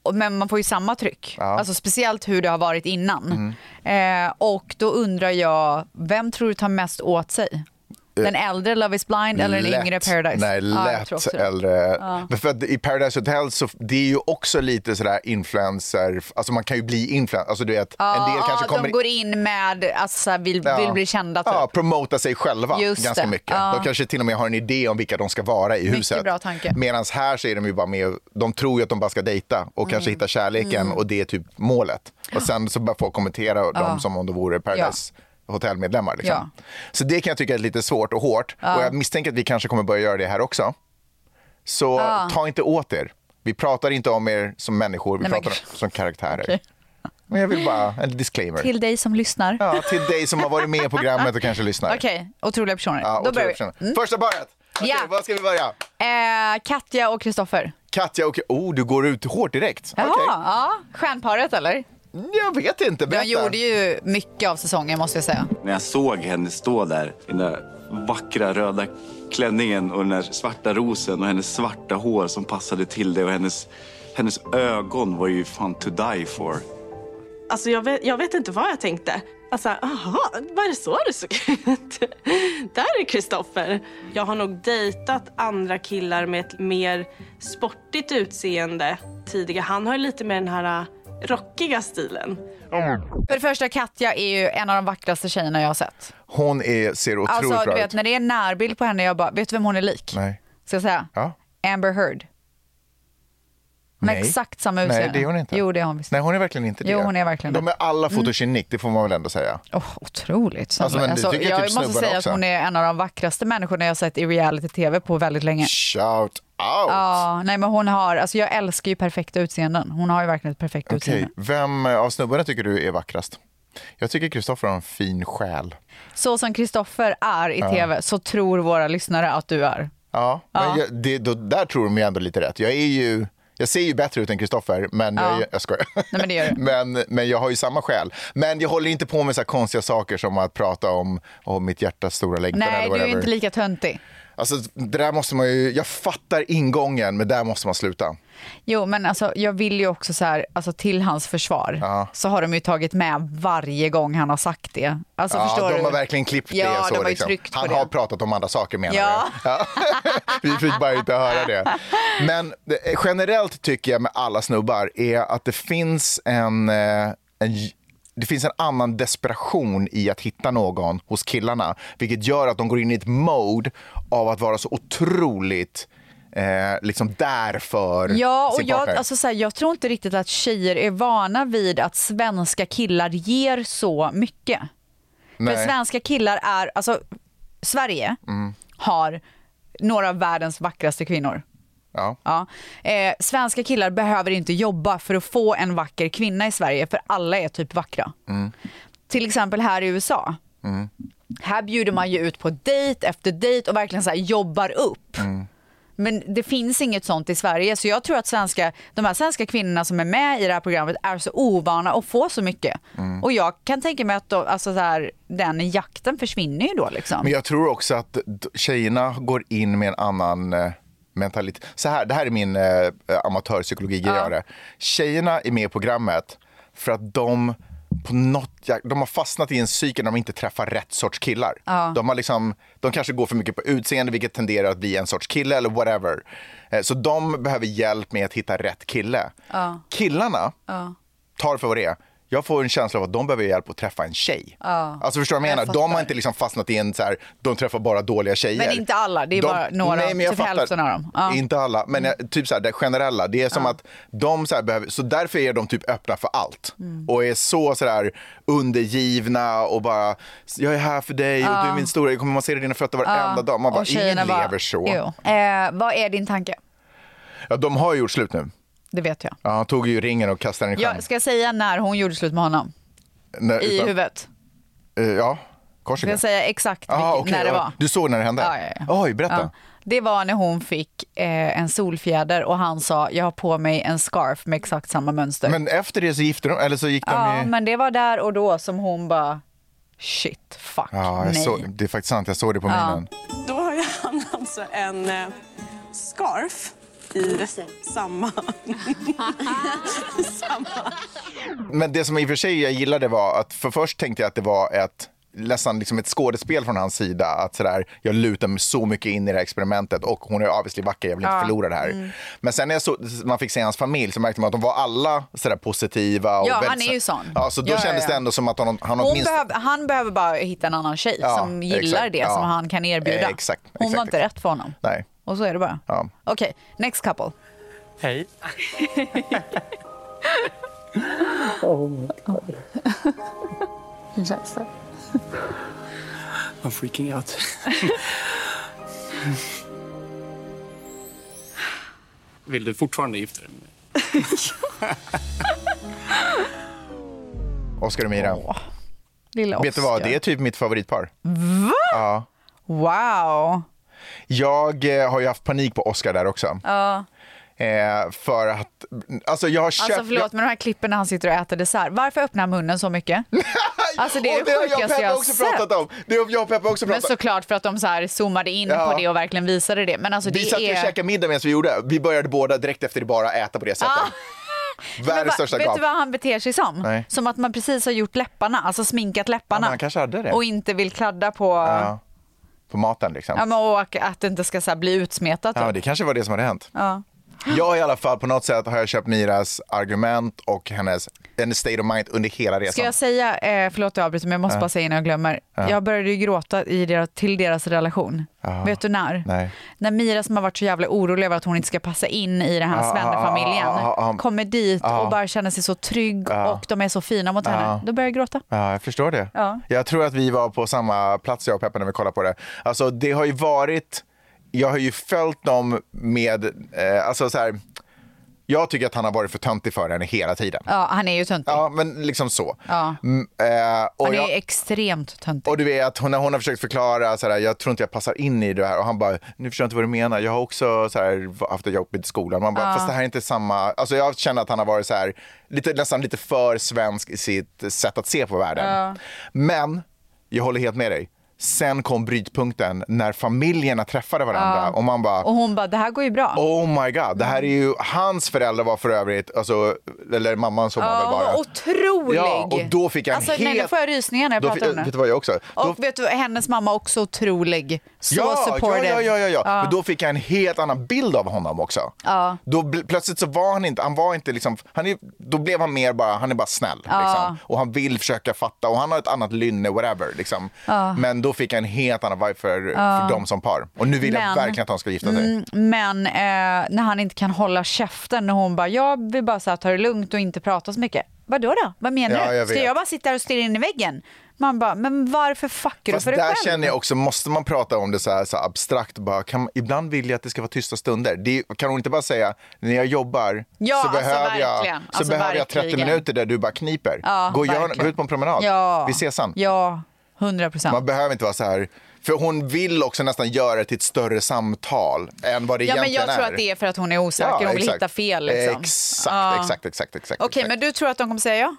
Speaker 5: och- men man får ju samma tryck, alltså speciellt hur det har varit innan.
Speaker 4: Mm.
Speaker 5: Eh, och då undrar jag, vem tror du tar mest åt sig? Den äldre Love is blind eller den
Speaker 4: Eh. Lätt.
Speaker 5: yngre Paradise?
Speaker 4: Nej,
Speaker 5: Ja, jag
Speaker 4: lätt
Speaker 5: tror också det.
Speaker 4: äldre. Men För att i Paradise Hotel så det är ju också lite sådär influencer, alltså man kan ju bli influencer, alltså du vet, en del
Speaker 5: Ja,
Speaker 4: kanske
Speaker 5: ja,
Speaker 4: kommer
Speaker 5: de går in med, alltså, så här, vill,
Speaker 4: Ja.
Speaker 5: vill bli kända typ.
Speaker 4: Ja, promota sig själva
Speaker 5: Just
Speaker 4: ganska
Speaker 5: det.
Speaker 4: mycket.
Speaker 5: Ja.
Speaker 4: De kanske till och med har en idé om vilka de ska vara i huset.
Speaker 5: bra tanke.
Speaker 4: Medan här så är de ju bara med och, de tror ju att de bara ska dejta och
Speaker 5: Mm.
Speaker 4: kanske hitta kärleken och det är typ målet. Och sen så börjar folk kommentera dem som om de vore Paradise hotellmedlemmar. Liksom.
Speaker 5: Ja.
Speaker 4: Så det kan jag tycka är lite svårt och hårt. Och jag misstänker att vi kanske kommer börja göra det här också. Så ta inte åt er. Vi pratar inte om er som människor, vi
Speaker 5: Nej, men
Speaker 4: pratar
Speaker 5: gud.
Speaker 4: om, som karaktärer. Men jag vill bara, en disclaimer.
Speaker 5: Till dig som lyssnar.
Speaker 4: Ja, till dig som har varit med i programmet och kanske lyssnar.
Speaker 5: Okej, otroliga personer.
Speaker 4: Ja,
Speaker 5: Då
Speaker 4: otroliga
Speaker 5: börjar vi. Mm.
Speaker 4: personer. Första paret! Okej,
Speaker 5: Ja.
Speaker 4: Var ska vi börja?
Speaker 5: Eh, Katja och Kristoffer.
Speaker 4: Katja och... Oh, du går ut hårt direkt.
Speaker 5: Jaha,
Speaker 4: Okej.
Speaker 5: ja. Stjärnparet eller?
Speaker 4: Jag vet inte.
Speaker 5: De
Speaker 4: Berätta.
Speaker 5: gjorde ju mycket av säsongen måste jag säga.
Speaker 11: När jag såg henne stå där i den där vackra röda klänningen och den där svarta rosen och hennes svarta hår som passade till det och hennes, hennes ögon var ju fan to die for.
Speaker 10: Alltså jag vet, jag vet inte vad jag tänkte.
Speaker 12: Alltså, aha, var det så det såg ut? Där är Kristoffer. Jag har nog dejtat andra killar med ett mer sportigt utseende tidigare. Han har ju lite mer den här äh, rockiga stilen.
Speaker 5: För det första, Katja är ju en av de vackraste tjejerna jag har sett.
Speaker 4: Hon är, ser otroligt
Speaker 5: Alltså, du
Speaker 4: bra
Speaker 5: vet,
Speaker 4: ut.
Speaker 5: när det är en närbild på henne, jag bara, vet du vem hon är lik?
Speaker 4: Nej.
Speaker 5: Ska jag säga?
Speaker 4: Ja.
Speaker 5: Amber Heard. Med
Speaker 4: Nej.
Speaker 5: exakt samma utseende.
Speaker 4: Nej, det är hon inte.
Speaker 5: Jo, det är hon visst.
Speaker 4: Nej, hon är verkligen inte det.
Speaker 5: Jo, hon är verkligen
Speaker 4: De
Speaker 5: det. Mm.
Speaker 4: är alla fotogenik, det får man väl ändå säga.
Speaker 5: Oh, otroligt. snälla.
Speaker 4: Alltså, men det tycker jag
Speaker 5: jag
Speaker 4: typ
Speaker 5: måste
Speaker 4: snubbarna
Speaker 5: säga
Speaker 4: också.
Speaker 5: att hon är en av de vackraste människorna jag har sett i reality-tv på väldigt länge.
Speaker 4: Shout out!
Speaker 5: Ja, nej men hon har, alltså jag älskar ju perfekta utseenden. Hon har ju verkligen ett perfekt
Speaker 4: Okej,
Speaker 5: utseende.
Speaker 4: vem av snubbarna tycker du är vackrast? Jag tycker Kristoffer har en fin själ.
Speaker 5: Så som Kristoffer är i
Speaker 4: Ja.
Speaker 5: tv så tror våra lyssnare att du är.
Speaker 4: Ja,
Speaker 5: Ja.
Speaker 4: Men jag, det, då, där tror de ju ändå lite rätt. Jag, är ju, jag ser ju bättre ut än Kristoffer, men jag, är ju-
Speaker 5: Ja.
Speaker 4: jag skojar.
Speaker 5: Nej, men det gör
Speaker 4: [LAUGHS]
Speaker 5: du.
Speaker 4: men, men jag har ju samma själ. Men jag håller inte på med så här konstiga saker som att prata om, om mitt hjärtas stora längtan
Speaker 5: Nej,
Speaker 4: eller
Speaker 5: du är
Speaker 4: whatever.
Speaker 5: inte lika töntig.
Speaker 4: Alltså, det där måste man ju, jag fattar ingången, men där måste man sluta.
Speaker 5: Jo, men alltså, jag vill ju också så här, alltså, till hans försvar så har de ju tagit med varje gång han har sagt det. Alltså,
Speaker 4: ja,
Speaker 5: förstår
Speaker 4: de
Speaker 5: du?
Speaker 4: har verkligen klippt
Speaker 5: ja,
Speaker 4: det. Så,
Speaker 5: de har ju
Speaker 4: liksom.
Speaker 5: tryckt på
Speaker 4: Han
Speaker 5: det.
Speaker 4: har pratat om andra saker menar
Speaker 5: Ja.
Speaker 4: du? Ja. [LAUGHS] Vi fick bara inte höra det. Men det- eh, generellt tycker jag med alla snubbar är att det finns en, eh, en j- det finns en annan desperation i att hitta någon hos killarna vilket gör att de går in i ett mode av att vara så otroligt eh, liksom där för
Speaker 5: Ja, och
Speaker 4: sin
Speaker 5: jag,
Speaker 4: partner.
Speaker 5: alltså, så här, jag tror inte riktigt att tjejer är vana vid att svenska killar ger så mycket. För
Speaker 4: Nej. Mm.
Speaker 5: svenska killar är, alltså Sverige har några av världens vackraste kvinnor.
Speaker 4: Ja.
Speaker 5: Ja. Eh, svenska killar behöver inte jobba för att få en vacker kvinna i Sverige för alla är typ vackra.
Speaker 4: Mm.
Speaker 5: Till exempel här i USA.
Speaker 4: Mm.
Speaker 5: Här bjuder man ju ut på dejt efter dejt och verkligen så här jobbar upp.
Speaker 4: Mm.
Speaker 5: Men det finns inget sånt i Sverige så jag tror att svenska, de här svenska kvinnorna som är med i det här programmet är så ovana att få så mycket.
Speaker 4: Mm.
Speaker 5: Och jag kan tänka mig att då, alltså så här, den jakten försvinner ju då liksom.
Speaker 4: Men jag tror också att d- tjejerna går in med en annan eh, mentalitet. Så här, det här är min eh, amatörpsykologi
Speaker 5: Ja.
Speaker 4: ja. Tjejerna är med i programmet för att de på något, jä- de har fastnat i en cykel när de inte träffar rätt sorts killar.
Speaker 5: Ja.
Speaker 4: De, har liksom, de kanske går för mycket på utseende vilket tenderar att bli en sorts kille eller whatever. Eh, Så de behöver hjälp med att hitta rätt kille.
Speaker 5: Ja.
Speaker 4: Killarna
Speaker 5: Ja.
Speaker 4: tar det för vad det är. Jag får en känsla av att de behöver hjälp att träffa en tjej.
Speaker 5: Ja.
Speaker 4: Alltså förstår du vad jag
Speaker 5: Jag
Speaker 4: menar? De
Speaker 5: fattar.
Speaker 4: har inte liksom fastnat i en så här, de träffar bara dåliga tjejer.
Speaker 5: Men inte alla, det är bara några,
Speaker 4: jag
Speaker 5: typ
Speaker 4: fattar.
Speaker 5: hälften av dem. Ja.
Speaker 4: Inte alla, men jag, typ så här, det generella. Det är som att de så här behöver, så därför är de typ öppna för allt.
Speaker 5: Mm.
Speaker 4: Och är så så där undergivna och bara, jag är här för dig och
Speaker 5: Ja.
Speaker 4: du är min stora, jag kommer massera dina fötter varenda
Speaker 5: Ja.
Speaker 4: dag. Man bara,
Speaker 5: Och tjejerna
Speaker 4: ingen lever så.
Speaker 5: Jo. Eh, vad är din tanke?
Speaker 4: Ja, de har ju gjort slut nu.
Speaker 5: Det vet jag.
Speaker 4: Ja, han tog ju ringen och kastade den i sjön.
Speaker 5: jag. Ska jag säga när hon gjorde slut med honom?
Speaker 4: Nej,
Speaker 5: I
Speaker 4: utan-
Speaker 5: huvudet?
Speaker 4: Eh, Ja,
Speaker 5: Ska
Speaker 4: Korsika.
Speaker 5: jag säga exakt
Speaker 4: Aha,
Speaker 5: vilket,
Speaker 4: Ah, okej,
Speaker 5: när det
Speaker 4: ja.
Speaker 5: var?
Speaker 4: Du såg när det hände?
Speaker 5: Ja, ja,
Speaker 4: Oj, berätta.
Speaker 5: Ja. Det var när hon fick eh, en solfjäder och han sa jag har på mig en scarf med exakt samma mönster.
Speaker 4: Men efter det så gifte de, eller så gick de
Speaker 5: ja,
Speaker 4: i...
Speaker 5: men det var där och då som hon bara shit, fuck,
Speaker 4: Ja, jag
Speaker 5: nej.
Speaker 4: såg, det är faktiskt sant, jag såg det på
Speaker 5: Ja.
Speaker 4: minen.
Speaker 12: Då har ju han alltså en eh, scarf i samma... samma.
Speaker 4: Men det som i och för sig jag gillade var att för först tänkte jag att det var ett nästan liksom ett skådespel från hans sida. Att sådär, jag lutar mig så mycket in i det här experimentet och hon är obviously vacker, jag vill inte
Speaker 5: Ja.
Speaker 4: förlora det här.
Speaker 5: Mm.
Speaker 4: Men sen när jag så, man fick se hans familj så märkte man att de var alla sådär positiva. Och
Speaker 5: Ja,
Speaker 4: väldigt
Speaker 5: han är ju sån.
Speaker 4: Ja, så då
Speaker 5: Ja, ja,
Speaker 4: kändes
Speaker 5: ja.
Speaker 4: det ändå som att han, han
Speaker 5: Hon
Speaker 4: åtminstone...
Speaker 5: behöv, han behöver bara hitta en annan tjej
Speaker 4: Ja,
Speaker 5: som gillar
Speaker 4: exakt,
Speaker 5: det
Speaker 4: ja.
Speaker 5: som han kan erbjuda.
Speaker 4: Eh, exakt,
Speaker 5: hon
Speaker 4: exakt,
Speaker 5: var inte rätt för honom.
Speaker 4: Nej.
Speaker 5: Och så är det bara.
Speaker 4: Ja.
Speaker 5: Okej, next couple.
Speaker 13: Hej.
Speaker 14: Hur känns det?
Speaker 13: I'm freaking out. Vill du fortfarande gifta dig med mig?
Speaker 4: Oscar och Mira.
Speaker 5: Lilla
Speaker 4: Vet du vad,
Speaker 5: Oscar.
Speaker 4: det är typ mitt favoritpar.
Speaker 5: Va?
Speaker 4: Ja.
Speaker 5: Wow.
Speaker 4: Jag eh, har ju haft panik på Oscar där också.
Speaker 5: Ja.
Speaker 4: Eh, för att, alltså jag har köpt...
Speaker 5: Alltså
Speaker 4: [LAUGHS]
Speaker 5: förlåt, men de här klippen när han sitter och äter dessert. Varför öppnar han munnen så mycket? Alltså det är
Speaker 4: Och
Speaker 5: det
Speaker 4: har jag och
Speaker 5: sjukaste
Speaker 4: Peppe
Speaker 5: jag har
Speaker 4: också
Speaker 5: sett.
Speaker 4: pratat om. Det har jag och Peppe också
Speaker 5: Men
Speaker 4: pratat om.
Speaker 5: såklart för att de så här zoomade in
Speaker 4: Ja.
Speaker 5: på det och verkligen visade det. Men alltså
Speaker 4: vi
Speaker 5: det
Speaker 4: satt ju och [LAUGHS]
Speaker 5: är...
Speaker 4: käkade middag medan vi gjorde. Vi började båda direkt efter det bara äta på det sättet.
Speaker 5: Men
Speaker 4: Världens
Speaker 5: va-
Speaker 4: största
Speaker 5: vet
Speaker 4: gap.
Speaker 5: du vad han beter sig som?
Speaker 4: Nej.
Speaker 5: Som att man precis har gjort läpparna, alltså sminkat
Speaker 4: Ja,
Speaker 5: läpparna.
Speaker 4: men han kanske hade det.
Speaker 5: Och inte vill kladda på...
Speaker 4: Ja.
Speaker 5: Ja.
Speaker 4: På maten liksom. Ja,
Speaker 5: men, och att det inte ska så här bli utsmetat. typ.
Speaker 4: men det kanske var det som hade hänt.
Speaker 5: Ja.
Speaker 4: Jag i alla fall, på något sätt har jag köpt Miras argument och hennes, hennes state of mind under hela resan.
Speaker 5: Ska jag säga, eh, förlåt att jag avbryter men jag måste
Speaker 4: Ja.
Speaker 5: bara säga innan jag glömmer.
Speaker 4: Ja.
Speaker 5: Jag började ju gråta i deras, till deras relation.
Speaker 4: Ja.
Speaker 5: Vet du när?
Speaker 4: Nej.
Speaker 5: När Mira som har varit så jävla orolig över att hon inte ska passa in i den här
Speaker 4: Ja,
Speaker 5: svennefamiljen
Speaker 4: ja, ja, ja, ja.
Speaker 5: kommer dit
Speaker 4: Ja.
Speaker 5: och bara känner sig så trygg
Speaker 4: Ja.
Speaker 5: och de är så fina mot
Speaker 4: Ja.
Speaker 5: henne. Då börjar jag gråta.
Speaker 4: Ja, jag förstår det.
Speaker 5: Ja.
Speaker 4: Jag tror att vi var på samma plats jag och Peppe när vi kollade på det. Alltså det har ju varit, jag har ju följt dem med, eh, alltså så här, jag tycker att han har varit för töntig för henne hela tiden.
Speaker 5: Ja, han är ju töntig.
Speaker 4: Ja, men liksom så.
Speaker 5: Ja.
Speaker 4: Mm, eh, och
Speaker 5: Han är
Speaker 4: jag-
Speaker 5: extremt töntig.
Speaker 4: Och du vet, hon, när hon har försökt förklara, så här, jag tror inte jag passar in i det här. Och han bara, nu förstår jag inte vad du menar. Jag har också så här, haft det jobbigt i skolan. Man bara,
Speaker 5: Ja.
Speaker 4: fast det här är inte samma. Alltså jag känner att han har varit så här, lite, nästan lite för svensk i sitt sätt att se på världen.
Speaker 5: Ja.
Speaker 4: Men, jag håller helt med dig. Sen kom brytpunkten när familjerna träffade varandra
Speaker 5: Ja.
Speaker 4: och man bara,
Speaker 5: Och hon bara, det här går ju bra.
Speaker 4: oh my god, det här är ju, hans föräldrar var för övrigt, alltså, eller mamman som var väl
Speaker 5: Ja,
Speaker 4: bara.
Speaker 5: hon var otrolig.
Speaker 4: Ja, och då fick jag en
Speaker 5: alltså,
Speaker 4: helt...
Speaker 5: Nej, nu får jag rysningar när jag
Speaker 4: då
Speaker 5: pratar
Speaker 4: fick-
Speaker 5: om det.
Speaker 4: Vet du vad jag också?
Speaker 5: Och
Speaker 4: då,
Speaker 5: vet du, hennes mamma också otrolig. Så
Speaker 4: ja,
Speaker 5: supportive.
Speaker 4: ja, ja, ja, ja. Men då fick jag en helt annan bild av honom också.
Speaker 5: Ja.
Speaker 4: Då bl- plötsligt så var han inte, han var inte liksom, han är, då blev han mer bara, han är bara snäll.
Speaker 5: Ja.
Speaker 4: Liksom. Och han vill försöka fatta och han har ett annat lynne, whatever. Liksom.
Speaker 5: Ja.
Speaker 4: Men då fick jag en helt annan vibe för,
Speaker 5: Ja.
Speaker 4: för dem som par. Och nu vill jag
Speaker 5: Men-
Speaker 4: verkligen att de ska gifta sig.
Speaker 5: Mm, men eh, när han inte kan hålla käften, när hon bara, jag vill bara så här, ta det lugnt och inte prata så mycket. Vadå då? Vad menar
Speaker 4: Ja,
Speaker 5: du?
Speaker 4: jag
Speaker 5: Ska
Speaker 4: vet.
Speaker 5: jag bara sitta här och stirra in i väggen? Man bara, men varför fuckar du
Speaker 4: Fast
Speaker 5: för dig
Speaker 4: där
Speaker 5: själv?
Speaker 4: känner jag också, måste man prata om det så här, så här abstrakt? Bara, kan, ibland vill jag att det ska vara tysta stunder. Det, är- kan hon inte bara säga, när jag jobbar
Speaker 5: Ja,
Speaker 4: så
Speaker 5: alltså
Speaker 4: behöver, jag,
Speaker 5: verkligen.
Speaker 4: så
Speaker 5: Alltså
Speaker 4: behöver jag 30
Speaker 5: verkligen.
Speaker 4: minuter där du bara kniper.
Speaker 5: Ja,
Speaker 4: gå, och gör,
Speaker 5: verkligen.
Speaker 4: gå ut på en promenad,
Speaker 5: Ja.
Speaker 4: vi ses sen.
Speaker 5: Ja, hundra procent.
Speaker 4: Man behöver inte vara så här, för hon vill också nästan göra det till ett större samtal än vad det
Speaker 5: Ja, men
Speaker 4: egentligen
Speaker 5: jag tror
Speaker 4: är.
Speaker 5: att det är för att hon är osäker och hon vill
Speaker 4: exakt.
Speaker 5: hitta fel. Liksom.
Speaker 4: Exakt,
Speaker 5: Ja.
Speaker 4: exakt, exakt, exakt.
Speaker 5: Okej, men du tror att de kommer säga ja?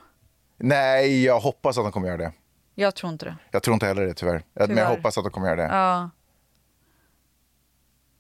Speaker 4: Nej, jag hoppas att de kommer göra det.
Speaker 5: Jag tror inte det.
Speaker 4: Jag tror inte heller det tyvärr. Men jag
Speaker 5: Tyvärr.
Speaker 4: hoppas att de kommer göra det.
Speaker 5: Ja.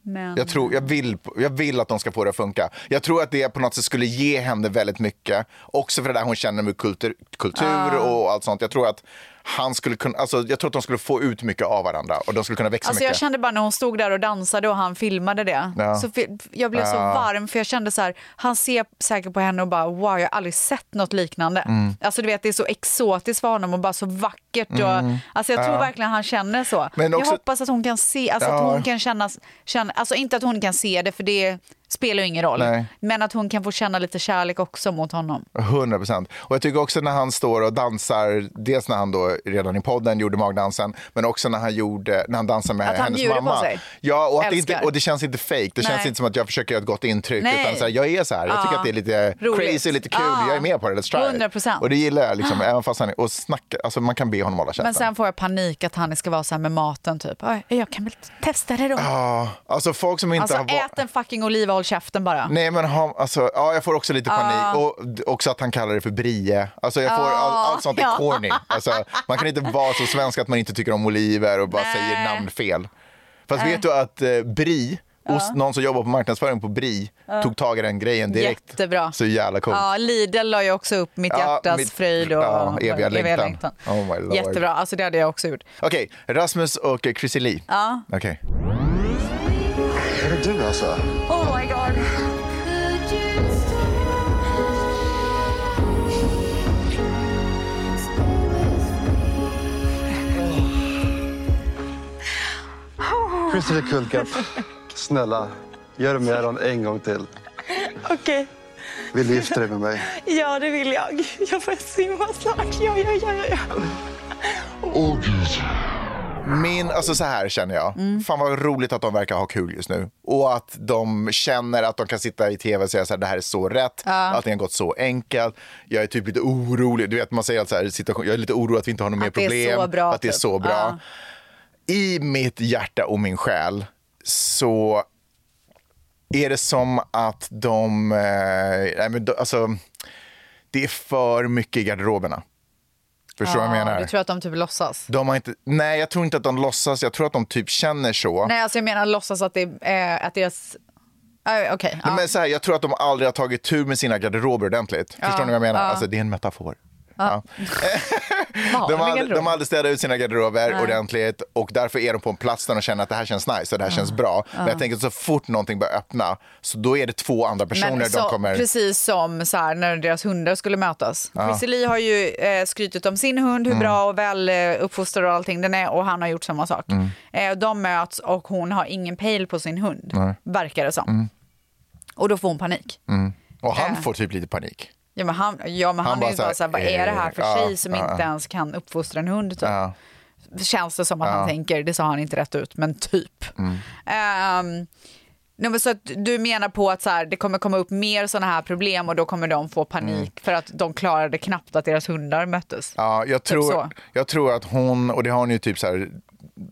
Speaker 5: Men...
Speaker 4: Jag, tror, jag, vill, jag vill att de ska få det att funka. Jag tror att det på något sätt skulle ge henne väldigt mycket. Också för det där hon känner med kultur, kultur
Speaker 5: Ah.
Speaker 4: och allt sånt. Jag tror, att han skulle kunna, alltså, jag tror att de skulle få ut mycket av varandra och de skulle kunna växa
Speaker 5: Alltså jag
Speaker 4: mycket.
Speaker 5: kände bara när hon stod där och dansade och han filmade det.
Speaker 4: Ja.
Speaker 5: Så fi- jag blev så
Speaker 4: Ja.
Speaker 5: varm för jag kände så här, han ser säkert på henne och bara wow, jag har aldrig sett något liknande.
Speaker 4: Mm.
Speaker 5: Alltså du vet det är så exotiskt för honom och bara så vackert. Och,
Speaker 4: Mm.
Speaker 5: Alltså jag tror
Speaker 4: Ja.
Speaker 5: verkligen han känner så.
Speaker 4: Men
Speaker 5: jag
Speaker 4: också-
Speaker 5: hoppas att hon kan se, alltså
Speaker 4: Ja.
Speaker 5: att hon kan känna, känna, alltså inte att hon kan se det för det spelar ju ingen roll.
Speaker 4: Nej.
Speaker 5: Men att hon kan få känna lite kärlek också mot honom.
Speaker 4: 100 procent. Och jag tycker också när han står och dansar, dels när han då redan i podden gjorde magdansen, men också när han, gjorde, när han dansar med
Speaker 5: Att han
Speaker 4: hennes
Speaker 5: bjuder på
Speaker 4: mamma.
Speaker 5: sig.
Speaker 4: Ja, och, att det inte,
Speaker 5: Älskar.
Speaker 4: och det känns inte fake. Det
Speaker 5: Nej.
Speaker 4: känns inte som att jag försöker göra ett gott intryck.
Speaker 5: Nej.
Speaker 4: Utan så här, jag är så här. Jag tycker
Speaker 5: Ja.
Speaker 4: att det är lite
Speaker 5: Roligt.
Speaker 4: crazy, lite kul.
Speaker 5: Ja.
Speaker 4: Jag är med på det. Let's try.
Speaker 5: 100%.
Speaker 4: Och det gillar jag. Liksom, även fast han är, och snacka, alltså man kan be honom hålla käften.
Speaker 5: Men sen får jag panik att han ska vara så här med maten typ. "Oj, Jag kan väl testa det då.
Speaker 4: Ja, alltså folk som inte
Speaker 5: Alltså
Speaker 4: har va-
Speaker 5: ät en fucking oliv och håll käften bara.
Speaker 4: Nej men han, alltså, ja, jag får också lite panik.
Speaker 5: Ah.
Speaker 4: Och d- också att han kallar det för brie. Alltså, jag får,
Speaker 5: Ah,
Speaker 4: all, allt sånt är
Speaker 5: ja.
Speaker 4: corny. Alltså, man kan inte vara så svensk att man inte tycker om oliver och bara säger namn fel. Fast
Speaker 5: Nej.
Speaker 4: vet du att eh, brie,
Speaker 5: Ah.
Speaker 4: ost, någon som jobbar på marknadsföring på brie,
Speaker 5: Ja.
Speaker 4: tog tag i den grejen direkt.
Speaker 5: Ah. Jättebra.
Speaker 4: Så jävla coolt.
Speaker 5: Ja, Lidl la ju också upp mitt
Speaker 4: Ja,
Speaker 5: hjärtas
Speaker 4: mitt-
Speaker 5: fröjd och
Speaker 4: ja, eviga längtan. Oh my lord.
Speaker 5: Jättebra, alltså det hade jag också gjort.
Speaker 4: Okej, Rasmus och eh, Chrissy Lee.
Speaker 5: Ja.
Speaker 4: Okej.
Speaker 8: Är det du alltså?
Speaker 15: Oh my god.
Speaker 11: Christer Kullkapp, snälla, gör med Aron en gång till.
Speaker 16: Okej,
Speaker 11: Vill du gifta dig med mig?
Speaker 16: ja det vill jag. Jag får simma snart. Ja, ja, ja, ja, ja.
Speaker 4: Min, alltså så här känner jag.
Speaker 5: Mm.
Speaker 4: Fan vad roligt att de verkar ha kul just nu. Och att de känner att de kan sitta i tv och säga så här, det här är så rätt.
Speaker 5: Ja.
Speaker 4: Allting har gått så enkelt. Jag är typ lite orolig. Du vet man säger alltid så här, situation, jag är lite orolig att vi inte har något mer
Speaker 5: det är
Speaker 4: problem.
Speaker 5: så bra,
Speaker 4: att det är
Speaker 5: typ.
Speaker 4: så bra.
Speaker 5: Ja.
Speaker 4: I mitt hjärta och min själ så är det som att de, eh, nej men de alltså, det är för mycket i garderoberna. Förstår du vad jag
Speaker 5: Ja,
Speaker 4: menar?
Speaker 5: Du tror att de typ låtsas?
Speaker 4: De har inte, nej, jag tror inte att de låtsas. Jag tror att de typ känner så.
Speaker 5: Nej, alltså jag menar låtsas att, det är, eh, att deras Okej. ja.
Speaker 4: Nej, men så här, jag tror att de aldrig har tagit tur med sina garderober ordentligt.
Speaker 5: Ja,
Speaker 4: Förstår ni vad jag menar?
Speaker 5: ja.
Speaker 4: Alltså, det är en metafor.
Speaker 5: Ja. Vad har
Speaker 4: De
Speaker 5: de i
Speaker 4: har,
Speaker 5: garderoben?
Speaker 4: de har aldrig städat ut sina garderober
Speaker 5: Nej.
Speaker 4: ordentligt och därför är de på en plats där de känner att det här känns nice och det här känns bra. Men
Speaker 5: Ja.
Speaker 4: jag tänker att så fort någonting börjar öppna så då är det två andra personer
Speaker 5: Men så,
Speaker 4: de kommer...
Speaker 5: Precis som så här, när deras hundar skulle mötas.
Speaker 4: Ja.
Speaker 5: Chrissie Lee har ju eh, skrytit om sin hund, hur
Speaker 4: Mm.
Speaker 5: bra och väl eh, uppfostrad och allting den är och han har gjort samma sak.
Speaker 4: Mm.
Speaker 5: Eh, de möts och hon har ingen pejl på sin hund,
Speaker 4: Nej.
Speaker 5: verkar det som.
Speaker 4: Mm.
Speaker 5: Och då får hon panik.
Speaker 4: Mm. Och han
Speaker 5: Eh.
Speaker 4: får typ lite panik.
Speaker 5: Ja men han, ja, men
Speaker 4: Han
Speaker 5: han,
Speaker 4: bara
Speaker 5: är ju
Speaker 4: så här,
Speaker 5: bara så här, vad är det här för
Speaker 4: eh, ja,
Speaker 5: tjej som
Speaker 4: ja.
Speaker 5: inte ens kan uppfostra en hund? Typ.
Speaker 4: Ja.
Speaker 5: Känns det som att
Speaker 4: Ja.
Speaker 5: han tänker, det sa han inte rätt ut, men typ.
Speaker 4: Mm.
Speaker 5: Ehm, nej, men så att du menar på att så här, det kommer komma upp mer sådana här problem och då kommer de få panik för att de klarade knappt att deras hundar möttes.
Speaker 4: Mm. Ja, jag, tror,
Speaker 5: Typ så.
Speaker 4: jag tror att hon, och det har hon ju typ så här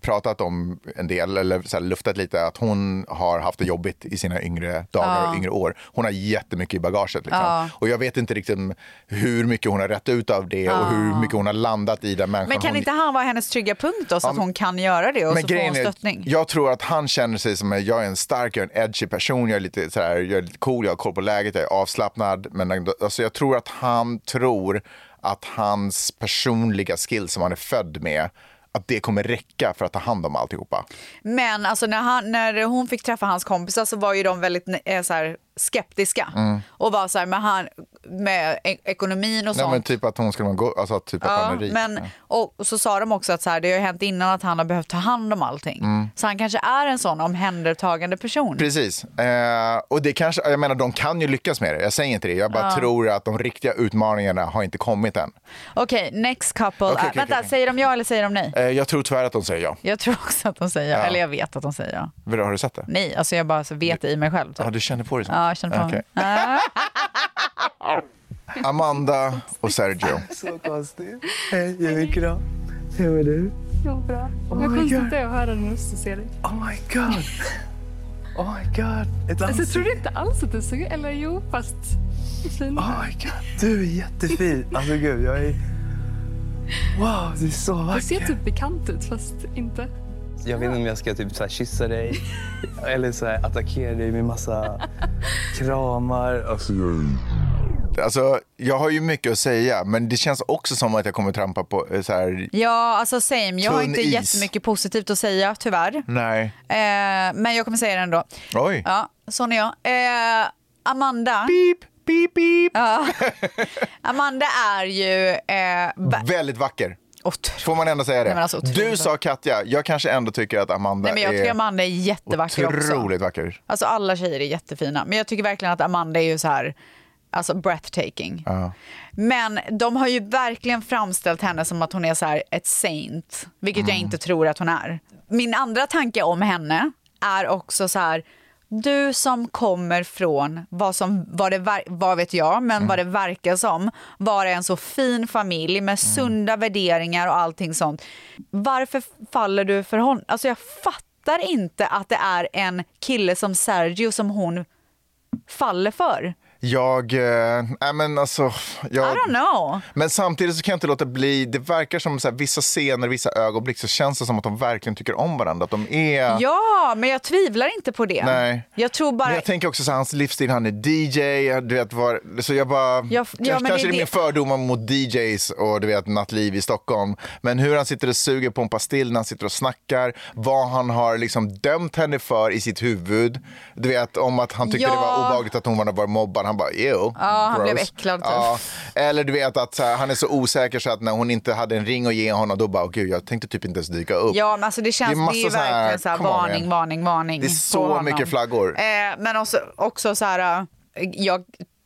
Speaker 4: pratat om en del, eller så här luftat lite, att hon har haft det jobbigt i sina yngre dagar
Speaker 5: Ja.
Speaker 4: och yngre år. Hon har jättemycket i bagaget. Liksom.
Speaker 5: Ja.
Speaker 4: Och jag vet inte riktigt hur mycket hon har rätt ut av det
Speaker 5: Ja.
Speaker 4: och hur mycket hon har landat i den människan
Speaker 5: Men kan
Speaker 4: hon
Speaker 5: inte han vara hennes trygga punkt då, så
Speaker 4: Ja,
Speaker 5: att
Speaker 4: men-
Speaker 5: hon kan göra det och så får hon
Speaker 4: grejen är,
Speaker 5: stöttning?
Speaker 4: Jag tror att han känner sig som jag är en stark, jag är en edgy person, jag är lite, så här, jag är lite cool, jag har koll på läget, jag är avslappnad. Men ändå- alltså, jag tror att han tror att hans personliga skill som han är född med, att det kommer räcka för att ta hand om alltihopa.
Speaker 5: Men alltså när, han, när hon fick träffa hans kompisar så var ju de väldigt eh, så här, skeptiska.
Speaker 4: Mm.
Speaker 5: Och var så här med, han, med e- ekonomin och
Speaker 4: Nej,
Speaker 5: sånt.
Speaker 4: men typ att hon skulle vara go- alltså typ att han är rik.
Speaker 5: men, och, och så sa de också att så här, det har ju hänt innan att han har behövt ta hand om allting.
Speaker 4: Mm.
Speaker 5: Så han kanske är en sån omhändertagande person.
Speaker 4: Precis. Eh, och det kanske, jag menar, de kan ju lyckas med det. Jag säger inte det. Jag bara
Speaker 5: Ja.
Speaker 4: tror att de riktiga utmaningarna har inte kommit än.
Speaker 5: Okej, next couple.
Speaker 4: Okej,
Speaker 5: är-
Speaker 4: okej,
Speaker 5: vänta,
Speaker 4: okej.
Speaker 5: säger de ja eller säger de nej?
Speaker 4: Eh, jag tror tyvärr att de säger ja.
Speaker 5: Jag tror också att de säger ja,
Speaker 4: Ja.
Speaker 5: eller jag vet att de säger ja.
Speaker 4: Vadå, Har du sett det?
Speaker 5: Nej, alltså jag bara så vet det i mig själv. Typ.
Speaker 4: Ja, du känner på det? så?
Speaker 5: Ja, jag känner på
Speaker 4: Okej.
Speaker 5: mig.
Speaker 4: Amanda och Sergio.
Speaker 16: Så konstigt. Hej, jag är bra. Hur är du? Jo, bra.
Speaker 14: Oh
Speaker 16: jag
Speaker 14: my
Speaker 16: kommer
Speaker 14: God.
Speaker 16: sitta och höra när måste se dig. Oh my god. Oh my god. Ett alltså, jag trodde inte alls att du såg Eller jo, fast... Oh my god. Du är jättefin. Alltså gud, jag är... Wow, du är så
Speaker 14: Du ser
Speaker 16: vacker.
Speaker 14: typ bekant ut fast inte.
Speaker 13: Jag vet inte om jag ska typ så här kyssa dig eller så här attackera dig med massa kramar. Alltså,
Speaker 4: Alltså, jag har ju mycket att säga, men det känns också som att jag kommer trampa på eh, så här...
Speaker 5: Ja, alltså same. Jag har
Speaker 4: Tunn
Speaker 5: inte
Speaker 4: is.
Speaker 5: jättemycket positivt att säga tyvärr.
Speaker 4: Nej.
Speaker 5: Eh, men jag kommer säga det ändå.
Speaker 4: Oj.
Speaker 5: Ja, sån är jag. Eh, Amanda.
Speaker 4: Beep, beep, beep.
Speaker 5: Ja. Amanda är ju... Eh, ba-
Speaker 4: Väldigt vacker. Får man ändå säga det?
Speaker 5: Nej, men alltså, otroligt.
Speaker 4: du sa Katja, jag kanske ändå tycker att Amanda
Speaker 5: Nej, men jag
Speaker 4: är
Speaker 5: tycker Amanda är jättevacker också.
Speaker 4: otroligt vacker.
Speaker 5: Alltså alla tjejer är jättefina. Men jag tycker verkligen att Amanda är ju så här, alltså breathtaking.
Speaker 4: Ja.
Speaker 5: Men de har ju verkligen framställt henne som att hon är så här ett saint, vilket jag inte tror att hon är. Min andra tanke om henne är också så här, du som kommer från vad som, vad det, ver- vad vet jag, men vad det verkar som, vara en så fin familj med sunda värderingar och allting sånt. Varför faller du för honom? Alltså jag fattar inte att det är en kille som Sergio som hon faller för.
Speaker 4: Jag... Eh, nej, men alltså... Jag,
Speaker 5: I don't know.
Speaker 4: Men samtidigt så kan jag inte låta bli, det verkar som så här, vissa scener, vissa ögonblick så känns det som att de verkligen tycker om varandra. Att de är...
Speaker 5: Ja, men jag tvivlar inte på det.
Speaker 4: Nej.
Speaker 5: Jag tror bara...
Speaker 4: Men jag tänker också så här, hans livsstil, han är DJ, du vet var, så jag bara,
Speaker 5: ja, men
Speaker 4: kanske,
Speaker 5: det är
Speaker 4: kanske det är
Speaker 5: det-
Speaker 4: min fördomar mot DJs och du vet nattliv i Stockholm, men hur han sitter och suger på en pastill när han sitter och snackar, vad han har liksom dömt henne för i sitt huvud, du vet om att han tyckte det var
Speaker 5: Ja.
Speaker 4: obehagligt att hon var mobbad, han bara ew.
Speaker 5: Ja, han
Speaker 4: gross."
Speaker 5: blev äcklad, typ.
Speaker 4: Ja. Eller du vet att så här, han är så osäker så att när hon inte hade en ring att ge honom, då bara, "Åh, gud jag tänkte typ inte ens dyka upp.
Speaker 5: Ja, men alltså det känns, det är,
Speaker 4: massa
Speaker 5: ju
Speaker 4: så här,
Speaker 5: verkligen så här,
Speaker 4: "Come on,
Speaker 5: varning,
Speaker 4: man."
Speaker 5: varning, varning.
Speaker 4: Det är
Speaker 5: på
Speaker 4: så
Speaker 5: honom.
Speaker 4: mycket flaggor.
Speaker 5: Eh, men också, också så här, eh, jag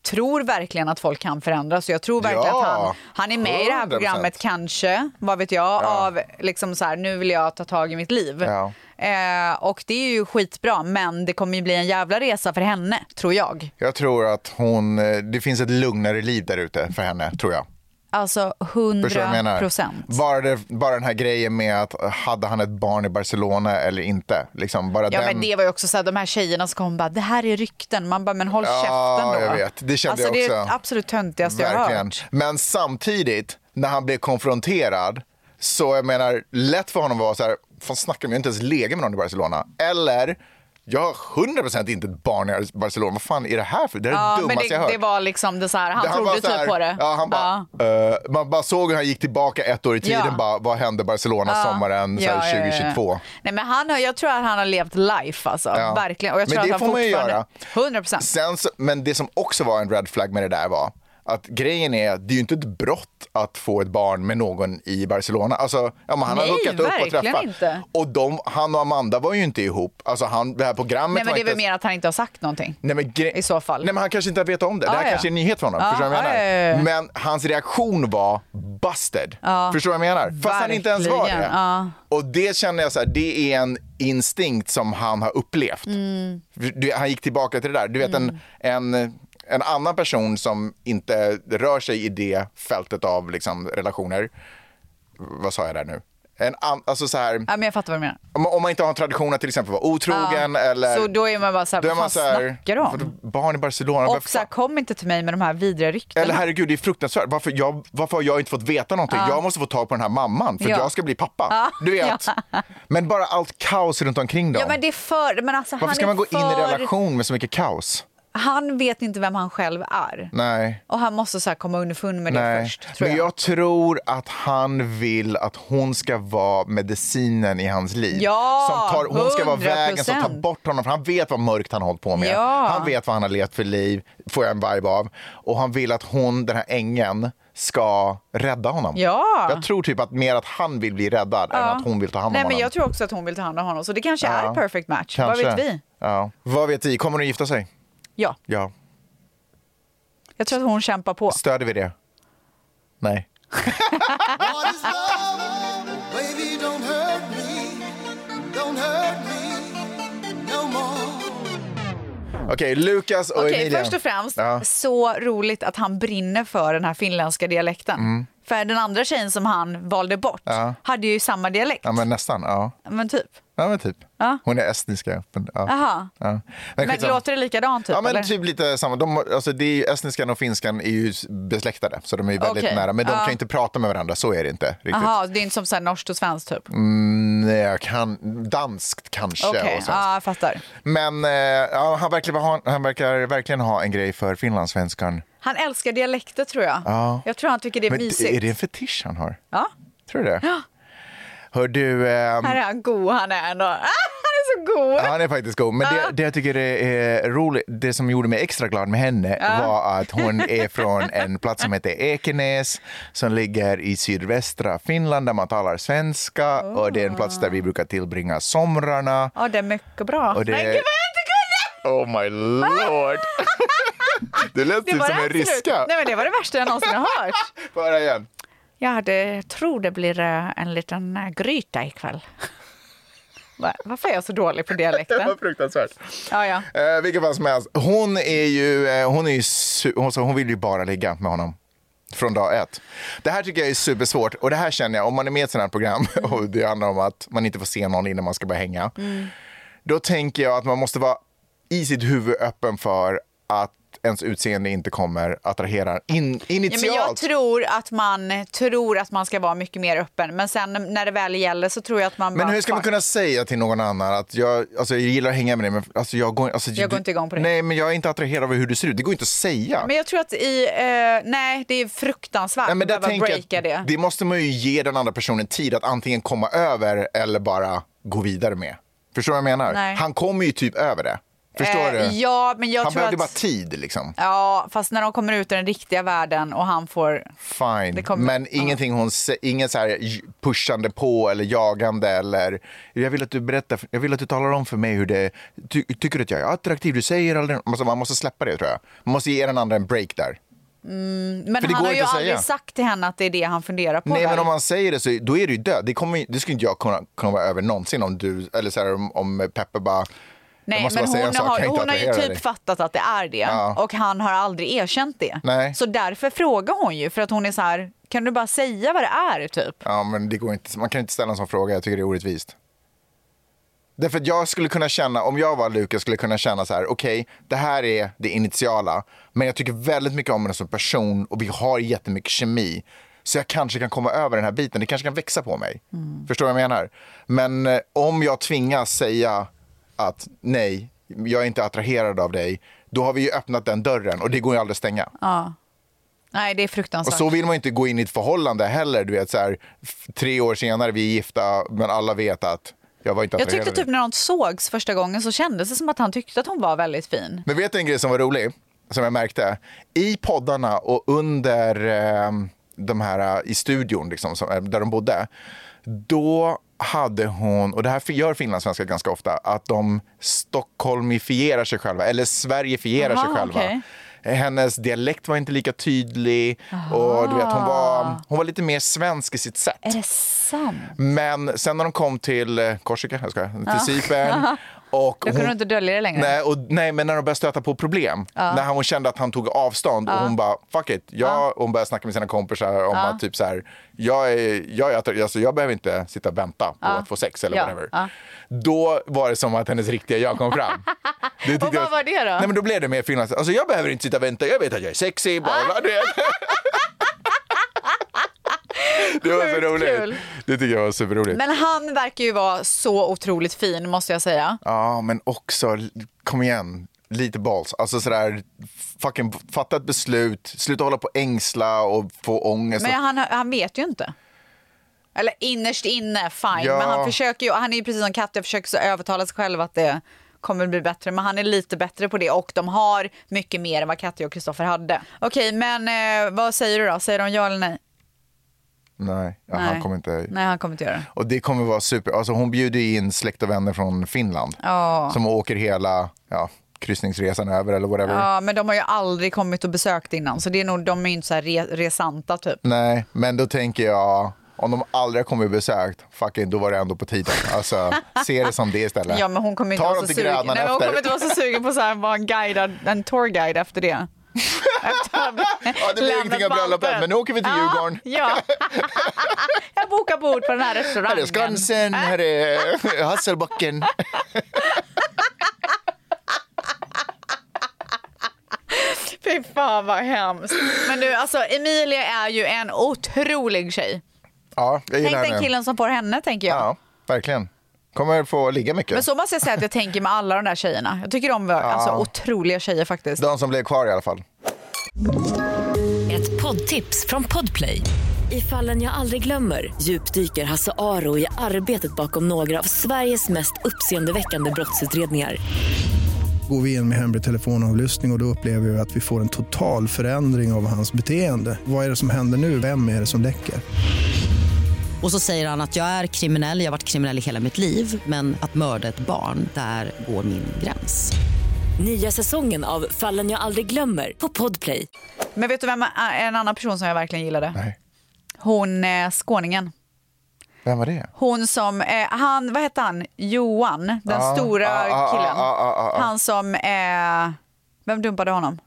Speaker 5: tror verkligen att folk kan förändras. Jag tror verkligen
Speaker 4: Ja,
Speaker 5: att han, han är med i det här
Speaker 4: 100%.
Speaker 5: programmet kanske, vad vet jag, av liksom så här, nu vill jag ta tag i mitt liv.
Speaker 4: Ja.
Speaker 5: Eh, och det är ju skitbra, men det kommer ju bli en jävla resa för henne, tror jag.
Speaker 4: Jag tror att hon, eh, det finns ett lugnare liv där ute för henne, tror jag.
Speaker 5: Alltså
Speaker 4: Förstår du vad jag
Speaker 5: 100
Speaker 4: menar?
Speaker 5: procent.
Speaker 4: Bara, det, bara den här grejen med att eh, hade han ett barn i Barcelona eller inte. Liksom bara
Speaker 5: Ja
Speaker 4: den...
Speaker 5: men det var ju också så här, de här tjejerna som kom och bara, det här är rykten. Man bara, men håll
Speaker 4: Ja,
Speaker 5: käften då.
Speaker 4: jag vet. Det kände
Speaker 5: alltså,
Speaker 4: jag
Speaker 5: Det är
Speaker 4: också.
Speaker 5: det absolut töntigaste jag har
Speaker 4: Verkligen.
Speaker 5: hört.
Speaker 4: Men samtidigt, när han blev konfronterad, så jag menar, lätt för honom var så här, fan snackar de? Jag har inte ens legat med någon i Barcelona. Eller, Jag har 100% inte ett barn i Barcelona. Vad fan är det här för? Det här är
Speaker 5: Ja,
Speaker 4: det
Speaker 5: men
Speaker 4: dummaste
Speaker 5: det,
Speaker 4: jag har hört.
Speaker 5: det var liksom det så här, han,
Speaker 4: bara
Speaker 5: trodde
Speaker 4: så här-
Speaker 5: typ på det.
Speaker 4: Ja, han bara, eh, man bara såg hur han gick tillbaka ett år i tiden.
Speaker 5: Ja.
Speaker 4: Bara, vad hände Barcelona
Speaker 5: Ja.
Speaker 4: sommaren så
Speaker 5: Ja,
Speaker 4: här,
Speaker 5: ja, ja, ja.
Speaker 4: 2022?
Speaker 5: Nej, men han har, jag tror att han har levt life alltså,
Speaker 4: Ja.
Speaker 5: verkligen. Och jag
Speaker 4: Men
Speaker 5: tror att
Speaker 4: det
Speaker 5: han
Speaker 4: får man ju
Speaker 5: fortfarande-
Speaker 4: göra.
Speaker 5: 100%.
Speaker 4: Sen så, men det som också var en red flag med det där var att grejen är att det är ju inte ett brott att få ett barn med någon i Barcelona. Alltså, ja, men han
Speaker 5: Nej,
Speaker 4: har hookat upp och
Speaker 5: verkligen
Speaker 4: träffat.
Speaker 5: inte.
Speaker 4: Och de, han och Amanda var ju inte ihop. Alltså, han, det här programmet
Speaker 5: Nej, men
Speaker 4: var
Speaker 5: det är
Speaker 4: inte
Speaker 5: väl mer att han inte har sagt någonting.
Speaker 4: Nej, men gre-
Speaker 5: I så fall.
Speaker 4: Nej, men han kanske inte vet om det.
Speaker 5: Ah,
Speaker 4: det här
Speaker 5: ja.
Speaker 4: kanske är en nyhet för honom.
Speaker 5: Ah,
Speaker 4: förstår du vad jag
Speaker 5: ah,
Speaker 4: menar?
Speaker 5: ja, ja, ja.
Speaker 4: Men hans reaktion var busted.
Speaker 5: Ja.
Speaker 4: Förstår du vad jag menar? Fast han inte ens var det.
Speaker 5: Verkligen, ja.
Speaker 4: Och det känner jag så här, det är en instinkt som han har upplevt.
Speaker 5: Mm.
Speaker 4: Du- Han gick tillbaka till det där. Du vet en, en, en annan person som inte rör sig i det fältet av liksom, relationer. Vad sa jag där nu? En an- alltså så här,
Speaker 5: Ja, men jag fattar vad du menar.
Speaker 4: om, om man inte har en tradition att till exempel vara otrogen
Speaker 5: Ja.
Speaker 4: eller...
Speaker 5: Så då är man bara så här,
Speaker 4: Då är
Speaker 5: vad
Speaker 4: man
Speaker 5: fan
Speaker 4: så här,
Speaker 5: snackar du om?
Speaker 4: vadå, Barn i Barcelona.
Speaker 5: Och
Speaker 4: varför
Speaker 5: så här, kom inte till mig med de här vidriga ryktena.
Speaker 4: eller herregud, det är fruktansvärt. Varför, jag, varför har jag inte fått veta någonting?
Speaker 5: Ja.
Speaker 4: Jag måste få tag på den här mamman för
Speaker 5: Ja.
Speaker 4: jag ska bli pappa.
Speaker 5: Ja.
Speaker 4: Du vet. Men bara allt kaos runt omkring dem.
Speaker 5: Ja, men det är för... Men alltså,
Speaker 4: varför
Speaker 5: han
Speaker 4: ska
Speaker 5: är
Speaker 4: man gå in i
Speaker 5: för-
Speaker 4: relation med så mycket kaos?
Speaker 5: Han vet inte vem han själv är.
Speaker 4: Nej.
Speaker 5: Och han måste så här komma underfund med det
Speaker 4: Nej.
Speaker 5: först. Tror
Speaker 4: men
Speaker 5: jag.
Speaker 4: jag tror att han vill att hon ska vara medicinen i hans liv.
Speaker 5: Ja,
Speaker 4: som tar, hon ska vara
Speaker 5: 100%.
Speaker 4: vägen som tar bort honom. För han vet vad mörkt han har hållit på med.
Speaker 5: Ja.
Speaker 4: Han vet vad han har levt för liv, får jag en vibe av. Och han vill att hon, den här ängeln, ska rädda honom.
Speaker 5: Ja.
Speaker 4: Jag tror typ att mer att han vill bli räddad än
Speaker 5: Ja.
Speaker 4: att hon vill ta hand om
Speaker 5: Nej,
Speaker 4: honom.
Speaker 5: men Jag tror också att hon vill ta hand om honom, så det kanske
Speaker 4: Ja.
Speaker 5: är perfect match.
Speaker 4: Kanske.
Speaker 5: Vad vet vi?
Speaker 4: Ja. Vad vet vi? Kommer de gifta sig?
Speaker 5: Ja,
Speaker 4: Ja.
Speaker 5: jag tror att hon kämpar på.
Speaker 4: Stöder vi det? Nej.
Speaker 8: Baby, don't hurt me, don't hurt me no more.
Speaker 4: Okej, Lukas och
Speaker 5: Okej,
Speaker 4: Emilia.
Speaker 5: först och främst,
Speaker 4: Ja.
Speaker 5: så roligt att han brinner för den här finländska dialekten.
Speaker 4: Mm.
Speaker 5: För den andra tjejen som han valde bort
Speaker 4: Ja.
Speaker 5: hade ju samma dialekt.
Speaker 4: Ja, men nästan. Ja.
Speaker 5: Men typ.
Speaker 4: Ja, men typ.
Speaker 5: Ja.
Speaker 4: Hon är estniska. Men, ja.
Speaker 5: Aha.
Speaker 4: Ja.
Speaker 5: Men,
Speaker 4: skitsamma.
Speaker 5: låter det likadant typ?
Speaker 4: Ja, men
Speaker 5: eller?
Speaker 4: typ lite samma. De, har- alltså, det är ju, estniskan och finskan är ju besläktade, så de är ju väldigt
Speaker 5: Okej.
Speaker 4: nära. Men de
Speaker 5: Ja.
Speaker 4: kan ju inte prata med varandra, så är det inte riktigt.
Speaker 5: Aha, det är inte som så här norskt och svenskt typ?
Speaker 4: Mm, nej, jag kan, danskt kanske.
Speaker 5: Okej,
Speaker 4: och sånt.
Speaker 5: ja, jag fattar.
Speaker 4: Men eh, ja, han, verkar, ha- han verkar verkligen ha en grej för finlandssvenskan.
Speaker 5: Han älskar dialekter tror jag.
Speaker 4: Ja.
Speaker 5: Jag tror han tycker det är
Speaker 4: Men
Speaker 5: mysigt.
Speaker 4: är det en fetisch han har?
Speaker 5: Ja,
Speaker 4: Tror du det?
Speaker 5: Ja.
Speaker 4: Hör du... ehm,
Speaker 5: här är han god han är ändå. Ah, han är så god!
Speaker 4: Ja, Han är faktiskt god. Men det, det jag tycker är roligt, det som gjorde mig extra glad med henne
Speaker 5: Ja.
Speaker 4: var att hon är från en plats som heter Ekenäs som ligger i sydvästra Finland där man talar svenska och det är en plats där vi brukar tillbringa somrarna.
Speaker 5: Ja, det är mycket bra.
Speaker 4: Och det-
Speaker 5: Men gud vad jag inte kunde!
Speaker 4: Oh my
Speaker 5: [LAUGHS]
Speaker 4: lord! Det lät typ som en
Speaker 5: absolut-
Speaker 4: ryska.
Speaker 5: Nej, men det var det värsta jag någonsin
Speaker 4: [LAUGHS]
Speaker 5: har hört.
Speaker 4: Få höra igen.
Speaker 5: Jag hade, jag tror det blir eh, en liten eh, gryta ikväll. [LAUGHS] Va- Varför är jag så dålig på
Speaker 4: Det var
Speaker 5: dialekten?
Speaker 4: fruktansvärt.
Speaker 5: Ja, ja.
Speaker 4: Eh, vilken fall som helst. Hon är ju, eh, hon är ju su- hon, så hon vill ju bara ligga med honom. Från dag ett. Det här tycker jag är supersvårt. Och det här känner jag, om man är med i ett sånt här program [LAUGHS] och det handlar om att man inte får se någon innan man ska börja hänga.
Speaker 5: Mm.
Speaker 4: Då tänker jag att man måste vara i sitt huvud öppen för att ens utseende inte kommer attrahera in,
Speaker 5: Ja, men
Speaker 4: initialt.
Speaker 5: jag tror att, man, tror att man ska vara mycket mer öppen, men sen när det väl gäller så tror jag att man
Speaker 4: Men
Speaker 5: bara...
Speaker 4: hur ska man
Speaker 5: fuck.
Speaker 4: kunna säga till någon annan att jag, alltså jag gillar att hänga med dig men alltså jag, går, alltså
Speaker 5: Jag går inte igång på det.
Speaker 4: Nej men jag är inte attraherad av hur du ser ut, det går inte att säga.
Speaker 5: Men jag tror att i... Eh, nej, det är fruktansvärt
Speaker 4: Nej, men där
Speaker 5: att behöva
Speaker 4: tänker jag
Speaker 5: breaka det.
Speaker 4: att det måste man ju ge den andra personen tid att antingen komma över eller bara gå vidare med. Förstår du vad jag menar?
Speaker 5: Nej.
Speaker 4: Han kommer ju typ över det. Förstår
Speaker 5: Eh,
Speaker 4: du?
Speaker 5: ja, men jag
Speaker 4: han
Speaker 5: tror
Speaker 4: behövde
Speaker 5: att-
Speaker 4: bara tid liksom.
Speaker 5: Ja, fast när de kommer ut i den riktiga världen och han får... Det
Speaker 4: Fine,
Speaker 5: kommer-
Speaker 4: men ingenting hon sä- ingen så här j- pushande på eller jagande eller jag vill att du berättar, jag vill att du talar om för mig hur det, ty, tycker du att jag är attraktiv, du säger aldrig, alltså man måste släppa det tror jag. Man måste ge den andra en break där.
Speaker 5: Mm, men
Speaker 4: För det
Speaker 5: han
Speaker 4: går
Speaker 5: har ju
Speaker 4: inte att
Speaker 5: aldrig
Speaker 4: säga.
Speaker 5: sagt till henne att det är det han funderar på.
Speaker 4: Nej men
Speaker 5: väl?
Speaker 4: om man säger det så då är du ju död, det, kommer, ju- det skulle inte jag kunna komma över någonsin om du, eller så här om, om Peppe bara, jag
Speaker 5: Nej,
Speaker 4: måste
Speaker 5: men
Speaker 4: bara säga
Speaker 5: hon,
Speaker 4: en sak,
Speaker 5: har,
Speaker 4: jag kan inte
Speaker 5: hon har ju
Speaker 4: attrahera
Speaker 5: typ
Speaker 4: dig.
Speaker 5: fattat att det är det
Speaker 4: Ja.
Speaker 5: och han har aldrig erkänt det.
Speaker 4: Nej.
Speaker 5: Så därför frågar hon ju för att hon är så här, kan du bara säga vad det är typ?
Speaker 4: Ja, men det går inte. Man kan inte ställa en sån fråga. Jag tycker det är orättvist. Därför att jag skulle kunna känna, om jag var Lukas, skulle kunna känna så här, okej, det här är det initiala, men jag tycker väldigt mycket om henne som person och vi har jättemycket kemi, så jag kanske kan komma över den här biten, det kanske kan växa på mig. Förstår du vad jag menar? Men eh, om jag tvingas säga att nej, jag är inte attraherad av dig, då har vi ju öppnat den dörren och det går ju aldrig att stänga.
Speaker 5: Ja. Nej, det är fruktansvärt.
Speaker 4: Och så vill man ju inte gå in i ett förhållande heller. Du vet, så här, f- tre år senare, vi är gifta, men alla vet att jag var inte
Speaker 5: jag
Speaker 4: attraherad
Speaker 5: tyckte
Speaker 4: av dig.
Speaker 5: typ när de sågs första gången så kändes det som att han tyckte att hon var väldigt fin.
Speaker 4: Men vet du en grej som var rolig? Som jag märkte? I poddarna och under eh, de här eh, i studion liksom, som, eh, där de bodde. Då hade hon, och det här gör finlandssvenskar ganska ofta, att de stockholmifierar sig själva eller sverigefierar sig
Speaker 5: Aha,
Speaker 4: själva.
Speaker 5: okej.
Speaker 4: Hennes dialekt var inte lika tydlig och du vet, hon,
Speaker 5: Ah.
Speaker 4: var, hon var lite mer svensk i sitt sätt.
Speaker 5: Är det sant?
Speaker 4: Men sen när de kom till eh, Korsika, jag skojar,
Speaker 5: [LAUGHS] Ja.
Speaker 4: till Cypern. Och
Speaker 5: Då kunde
Speaker 4: hon-
Speaker 5: du inte dölja det längre.
Speaker 4: Nej, och, nej, men när de började stöta på problem.
Speaker 5: Ja.
Speaker 4: När hon kände att han tog avstånd
Speaker 5: Ja.
Speaker 4: och hon bara, fuck it. Jag, och Hon började snacka med sina kompisar om
Speaker 5: Ja.
Speaker 4: att typ så här, jag, är, jag, är, attra- alltså, jag behöver inte sitta och vänta på
Speaker 5: Ja.
Speaker 4: att få sex eller
Speaker 5: Ja.
Speaker 4: whatever.
Speaker 5: Ja.
Speaker 4: Då var det som att hennes riktiga jag kom fram. Det tyckte
Speaker 5: [LAUGHS] Och vad
Speaker 4: jag-
Speaker 5: var det då?
Speaker 4: Nej, men då blev det mer finlands... Alltså, jag behöver inte sitta och vänta, jag vet att jag är sexy. Bla,
Speaker 5: [LAUGHS]
Speaker 4: bla, du vet. det var så
Speaker 5: Sjukt
Speaker 4: roligt.
Speaker 5: kul.
Speaker 4: Det tycker jag var superroligt.
Speaker 5: Men han verkar ju vara så otroligt fin måste jag säga.
Speaker 4: Ja, men också, kom igen, lite balls. Alltså sådär, fucking fatta ett beslut, sluta hålla på och ängsla och få ångest.
Speaker 5: Men han, han vet ju inte. Eller innerst inne, fine.
Speaker 4: Ja.
Speaker 5: Men han försöker ju, han är ju precis som Katja, försöker så övertala sig själv att det kommer bli bättre. Men han är lite bättre på det och de har mycket mer än vad Katja och Kristoffer hade. Okej, men eh, vad säger du då? Säger de ja eller nej?
Speaker 4: Nej, ja,
Speaker 5: Nej.
Speaker 4: han kommer inte...
Speaker 5: Nej, han kommer inte göra det.
Speaker 4: Och det kommer vara super, alltså hon bjuder ju in släkt och vänner från Finland.
Speaker 5: Ja.
Speaker 4: Som åker hela ja, kryssningsresan över eller whatever.
Speaker 5: Ja, men de har ju aldrig kommit och besökt innan så det är nog, de är ju inte så här re, resanta typ.
Speaker 4: Nej, men då tänker jag, om de aldrig har kommit och besökt, fucking då var det ändå på tiden. Alltså, se det som det istället.
Speaker 5: Ja, men hon kommer inte,
Speaker 4: Ta
Speaker 5: vara
Speaker 4: dem
Speaker 5: så,
Speaker 4: till
Speaker 5: sugen. Nej,
Speaker 4: Grönan
Speaker 5: men hon
Speaker 4: efter.
Speaker 5: kommer inte vara så sugen på att vara en, guidad, en tourguide efter det.
Speaker 4: [LAUGHS] Ja, det blir ingenting av bröllopet, men nu åker vi till Djurgården.
Speaker 5: Ah, [LAUGHS] Ja. Jag bokar bord på den här restaurangen.
Speaker 4: Här är
Speaker 5: Äh?
Speaker 4: Skansen, här är eh, Hasselbacken.
Speaker 5: Fy fan vad hemskt. Men du, alltså Emilia är ju en otrolig tjej.
Speaker 4: [LAUGHS] Ja, jag gillar
Speaker 5: Tänk den
Speaker 4: henne.
Speaker 5: killen som får henne, tänker jag.
Speaker 4: Ja, verkligen. Kommer få ligga mycket.
Speaker 5: Men så måste jag säga att jag tänker med alla de där tjejerna. Jag tycker de var alltså, otroliga tjejer faktiskt.
Speaker 4: De som blev kvar i alla fall.
Speaker 6: Ett poddtips från Podplay. I fallen jag aldrig glömmer djupdyker Hasse Aro i arbetet bakom några av Sveriges mest uppseendeväckande brottsutredningar.
Speaker 15: Går vi in med hemlig telefonavlyssning och, och då upplever vi att vi får en total förändring av hans beteende. Vad är det som händer nu? Vem är det som läcker?
Speaker 17: Och så säger han att jag är kriminell, jag har varit kriminell i hela mitt liv men att mörda ett barn, där går min gräns.
Speaker 6: Nya säsongen av Fallen jag aldrig glömmer på Podplay.
Speaker 5: Men vet du vem är en annan person som jag verkligen gillade?
Speaker 4: Nej.
Speaker 5: Hon eh, skåningen.
Speaker 4: Vem var det?
Speaker 5: Hon som, eh, han, vad hette han, Johan, den
Speaker 4: Ah,
Speaker 5: stora
Speaker 4: ah, ah,
Speaker 5: killen.
Speaker 4: ah, ah, ah, ah.
Speaker 5: Han som, eh, vem dumpade honom?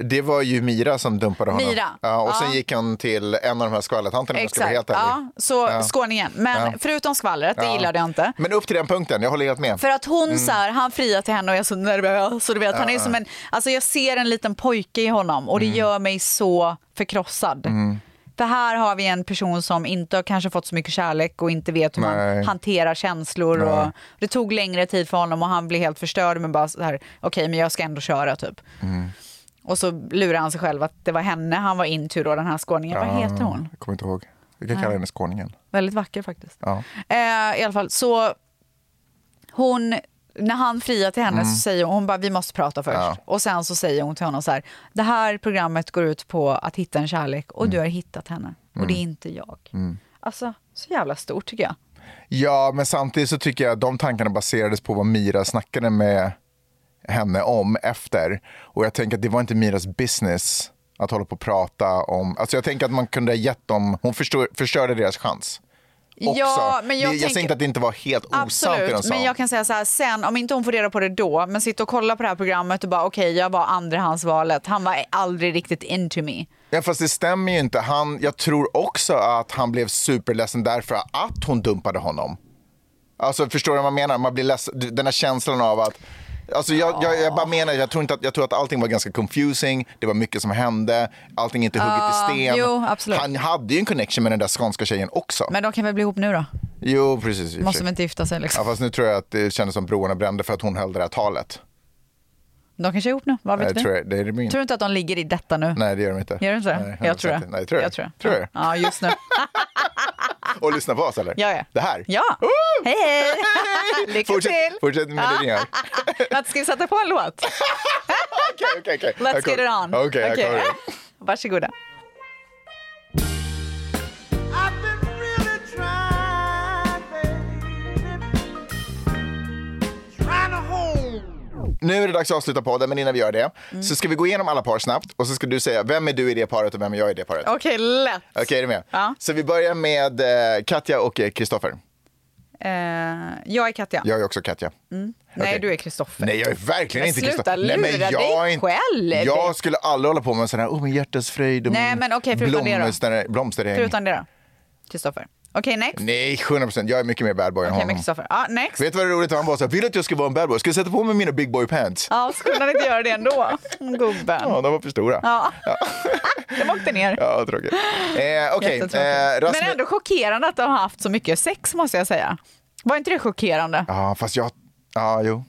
Speaker 4: Det var ju Mira som dumpade honom.
Speaker 5: Mira.
Speaker 4: Ja, och sen
Speaker 5: Ja.
Speaker 4: gick han till en av de här skvallertanterna om jag ska vara helt ärlig.
Speaker 5: ja, så skåningen. Men
Speaker 4: Ja.
Speaker 5: förutom skvallret, det
Speaker 4: Ja.
Speaker 5: gillade jag inte.
Speaker 4: Men upp till den punkten, jag håller helt med.
Speaker 5: För att hon så här, han friar till henne och jag är så nervös. Och du vet, han
Speaker 4: Mm. Ja,
Speaker 5: är
Speaker 4: ja.
Speaker 5: som en, alltså jag ser en liten pojke i honom och det gör mig så förkrossad.
Speaker 4: Mm.
Speaker 5: För här har vi en person som inte har kanske fått så mycket kärlek och inte vet hur
Speaker 4: Nej.
Speaker 5: man hanterar känslor. Och
Speaker 4: Nej.
Speaker 5: det tog längre tid för honom och han blev helt förstörd men bara så här, okej men jag ska ändå köra typ.
Speaker 4: Mm.
Speaker 5: Och så lurar han sig själv att det var henne han var into då, den här skåningen. Vad heter hon?
Speaker 4: Jag kommer inte ihåg. Vi kan kalla
Speaker 5: Nej.
Speaker 4: henne skåningen.
Speaker 5: Väldigt vacker faktiskt.
Speaker 4: Ja.
Speaker 5: Eh, I alla fall, så hon, när han friar till henne
Speaker 4: Mm.
Speaker 5: så säger hon, hon bara vi måste prata först.
Speaker 4: Ja.
Speaker 5: Och sen så säger hon till honom så här, det här programmet går ut på att hitta en kärlek och du har hittat henne och
Speaker 4: Mm.
Speaker 5: det är inte jag.
Speaker 4: Mm.
Speaker 5: Alltså, så jävla stort tycker jag.
Speaker 4: Ja, men samtidigt så tycker jag att de tankarna baserades på vad Mira snackade med henne om efter. Och jag tänker att det var inte Miras business att hålla på och prata om... Alltså jag tänker att man kunde ha gett dem... Hon förstör, förstörde deras chans. Också.
Speaker 5: Ja, men jag
Speaker 4: det, jag
Speaker 5: tänker-
Speaker 4: säger inte att det inte var helt osant det de
Speaker 5: Absolut,
Speaker 4: sa.
Speaker 5: men jag kan säga så här sen, om inte hon får reda på det då, men sitta och kolla på det här programmet och bara okej, jag var andrahandsvalet, han var aldrig riktigt into me.
Speaker 4: Ja, fast det stämmer ju inte. Han, jag tror också att han blev superledsen därför att hon dumpade honom. Alltså, förstår du vad jag menar? Man blir ledsen, den här känslan av att... Alltså jag, jag, jag bara menar, jag tror, inte att, jag tror att allting var ganska confusing, det var mycket som hände, allting är inte hugget
Speaker 5: Ah,
Speaker 4: i sten.
Speaker 5: jo, absolut.
Speaker 4: Han hade ju en connection med den där skånska tjejen också.
Speaker 5: Men de kan väl bli ihop nu då?
Speaker 4: Jo, precis. i och för
Speaker 5: Måste
Speaker 4: sig.
Speaker 5: de inte gifta sig liksom?
Speaker 4: Ja, fast nu tror jag att det kändes som broarna brände för att hon höll det där talet.
Speaker 5: De kanske är ihop nu, vad
Speaker 4: Nej,
Speaker 5: vet vi?
Speaker 4: tror jag- det är det min.
Speaker 5: Tror du inte att de ligger i detta nu?
Speaker 4: Nej, det gör de inte.
Speaker 5: Gör du inte det?
Speaker 4: Nej,
Speaker 5: jag tror det.
Speaker 4: Nej, tror jag.
Speaker 5: jag tror
Speaker 4: Tror du?
Speaker 5: Ja,
Speaker 4: [LAUGHS]
Speaker 5: just nu.
Speaker 4: Och lyssna på oss eller?
Speaker 5: Ja, ja.
Speaker 4: Det här?
Speaker 5: Ja. Hej, hej! Lycka
Speaker 4: Fortsätt,
Speaker 5: till!
Speaker 4: fortsätt med det ni
Speaker 5: [LAUGHS]
Speaker 4: gör.
Speaker 5: Att ska vi sätta på en låt?
Speaker 4: Okej, okej, okej.
Speaker 5: Let's
Speaker 4: Jag
Speaker 5: get it
Speaker 4: kommer.
Speaker 5: on.
Speaker 4: Okej, okay, jag kommer.
Speaker 5: [LAUGHS] Varsågoda.
Speaker 8: I've been really trying, baby. Trying to hold.
Speaker 4: Nu är det dags att avsluta podden, men innan vi gör det
Speaker 5: Mm.
Speaker 4: så ska vi gå igenom alla par snabbt och så ska du säga vem är du i det paret och vem är jag i det paret.
Speaker 5: Okej, lätt.
Speaker 4: Okej, är du med?
Speaker 5: Ja.
Speaker 4: Så vi börjar med eh, Katja och eh, Kristoffer.
Speaker 5: Eh, jag är Katja.
Speaker 4: Jag är också Katja.
Speaker 5: Mm. Nej, du är Kristoffer.
Speaker 4: Nej, jag är verkligen
Speaker 5: Men
Speaker 4: inte
Speaker 5: sluta
Speaker 4: Kristoffer. Nej, men
Speaker 5: lura
Speaker 4: jag
Speaker 5: dig
Speaker 4: är inte-
Speaker 5: själv.
Speaker 4: Jag skulle aldrig hålla på med en sån här oh, min hjärtas fröjd och
Speaker 5: Nej,
Speaker 4: min
Speaker 5: men okej, förutom det då.
Speaker 4: blomster, blomsterhäng.
Speaker 5: Förutom det då? Kristoffer. Okej, next.
Speaker 4: Nej, 100 procent. Jag är mycket mer bad boy än
Speaker 5: Okej, med
Speaker 4: honom.
Speaker 5: Kristoffer. Ja, next.
Speaker 4: Vet du vad det är roligt? Han bara så här, vill du att jag ska vara en bad boy? Ska jag sätta på mig mina big boy pants?
Speaker 5: Ja, skulle han inte göra
Speaker 4: [LAUGHS]
Speaker 5: det ändå? Gubben.
Speaker 4: Ja, de var för stora.
Speaker 5: Ja. [LAUGHS] De åkte ner.
Speaker 4: Ja, tråkigt. Eh, Okej,
Speaker 5: Jättetråkigt.
Speaker 4: eh, Rasmus...
Speaker 5: Men ändå chockerande att de har haft så mycket sex måste jag säga. Var inte det chockerande?
Speaker 4: Ja, fast jag... Ja, jo.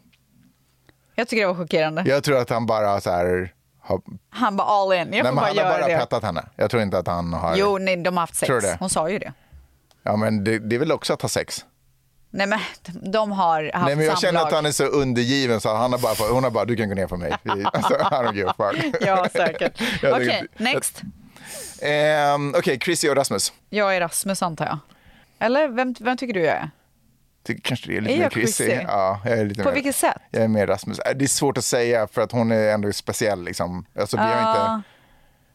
Speaker 5: Jag tycker det var chockerande.
Speaker 4: Jag tror att han bara så här... Har...
Speaker 5: Han bara all in. Jag
Speaker 4: Nej,
Speaker 5: får
Speaker 4: men
Speaker 5: bara
Speaker 4: han har
Speaker 5: göra
Speaker 4: bara
Speaker 5: det.
Speaker 4: pettat henne. Jag tror inte att han har...
Speaker 5: Jo, nej, de har haft sex.
Speaker 4: Tror du det?
Speaker 5: Hon sa ju det.
Speaker 4: Ja, men det, det är väl också att ha sex?
Speaker 5: Nej men de har haft
Speaker 4: Nej, men jag känner
Speaker 5: samlag.
Speaker 4: att han är så undergiven så han har bara, hon har bara, du kan gå ner för
Speaker 5: [LAUGHS]
Speaker 4: mig. Alltså, I don't give a fuck.
Speaker 5: Ja, säkert.
Speaker 4: [LAUGHS] Jag
Speaker 5: Okej,
Speaker 4: tycker-
Speaker 5: next.
Speaker 4: Ehm, Okej, Chrissy och Rasmus.
Speaker 5: Jag är Rasmus antar jag. Eller vem, vem tycker du jag är?
Speaker 4: Det kanske det är
Speaker 5: Är
Speaker 4: lite
Speaker 5: jag
Speaker 4: mer Chrissy.
Speaker 5: Chrissy?
Speaker 4: Ja, jag är lite
Speaker 5: På
Speaker 4: mer,
Speaker 5: vilket sätt?
Speaker 4: Jag är mer Rasmus. Äh, Det är svårt att säga för att hon är ändå speciell. Liksom. Alltså, vi har
Speaker 5: Ja.
Speaker 4: inte...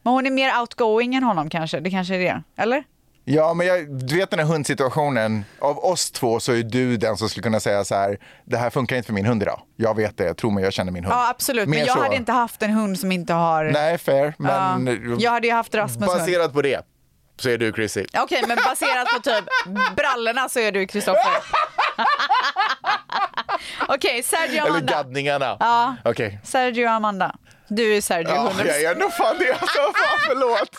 Speaker 5: Men hon är mer outgoing än honom kanske. Det kanske är det. Eller?
Speaker 4: Ja, men jag, du vet den här hundsituationen. Av oss två så är du den som skulle kunna säga så här, det här funkar inte för min hund idag. Jag vet det, tro mig, jag känner min hund.
Speaker 5: Ja absolut. Men
Speaker 4: Mer
Speaker 5: jag
Speaker 4: så.
Speaker 5: hade inte haft en hund som inte har...
Speaker 4: Nej, fair. Men...
Speaker 5: Ja. Jag hade ju haft Rasmus hund.
Speaker 4: Baserat på det så är du Chrissy.
Speaker 5: Okej, men baserat på typ brallorna så är
Speaker 4: [LAUGHS]
Speaker 5: du Kristoffer. Okej, Sergio och
Speaker 4: Eller
Speaker 5: Amanda.
Speaker 4: gaddningarna.
Speaker 5: Ja.
Speaker 4: Okej.
Speaker 5: Sergio och Amanda. Du är Sergio.
Speaker 4: Ja,
Speaker 5: 100%.
Speaker 4: jag är nog fan det. Alltså, fan, förlåt.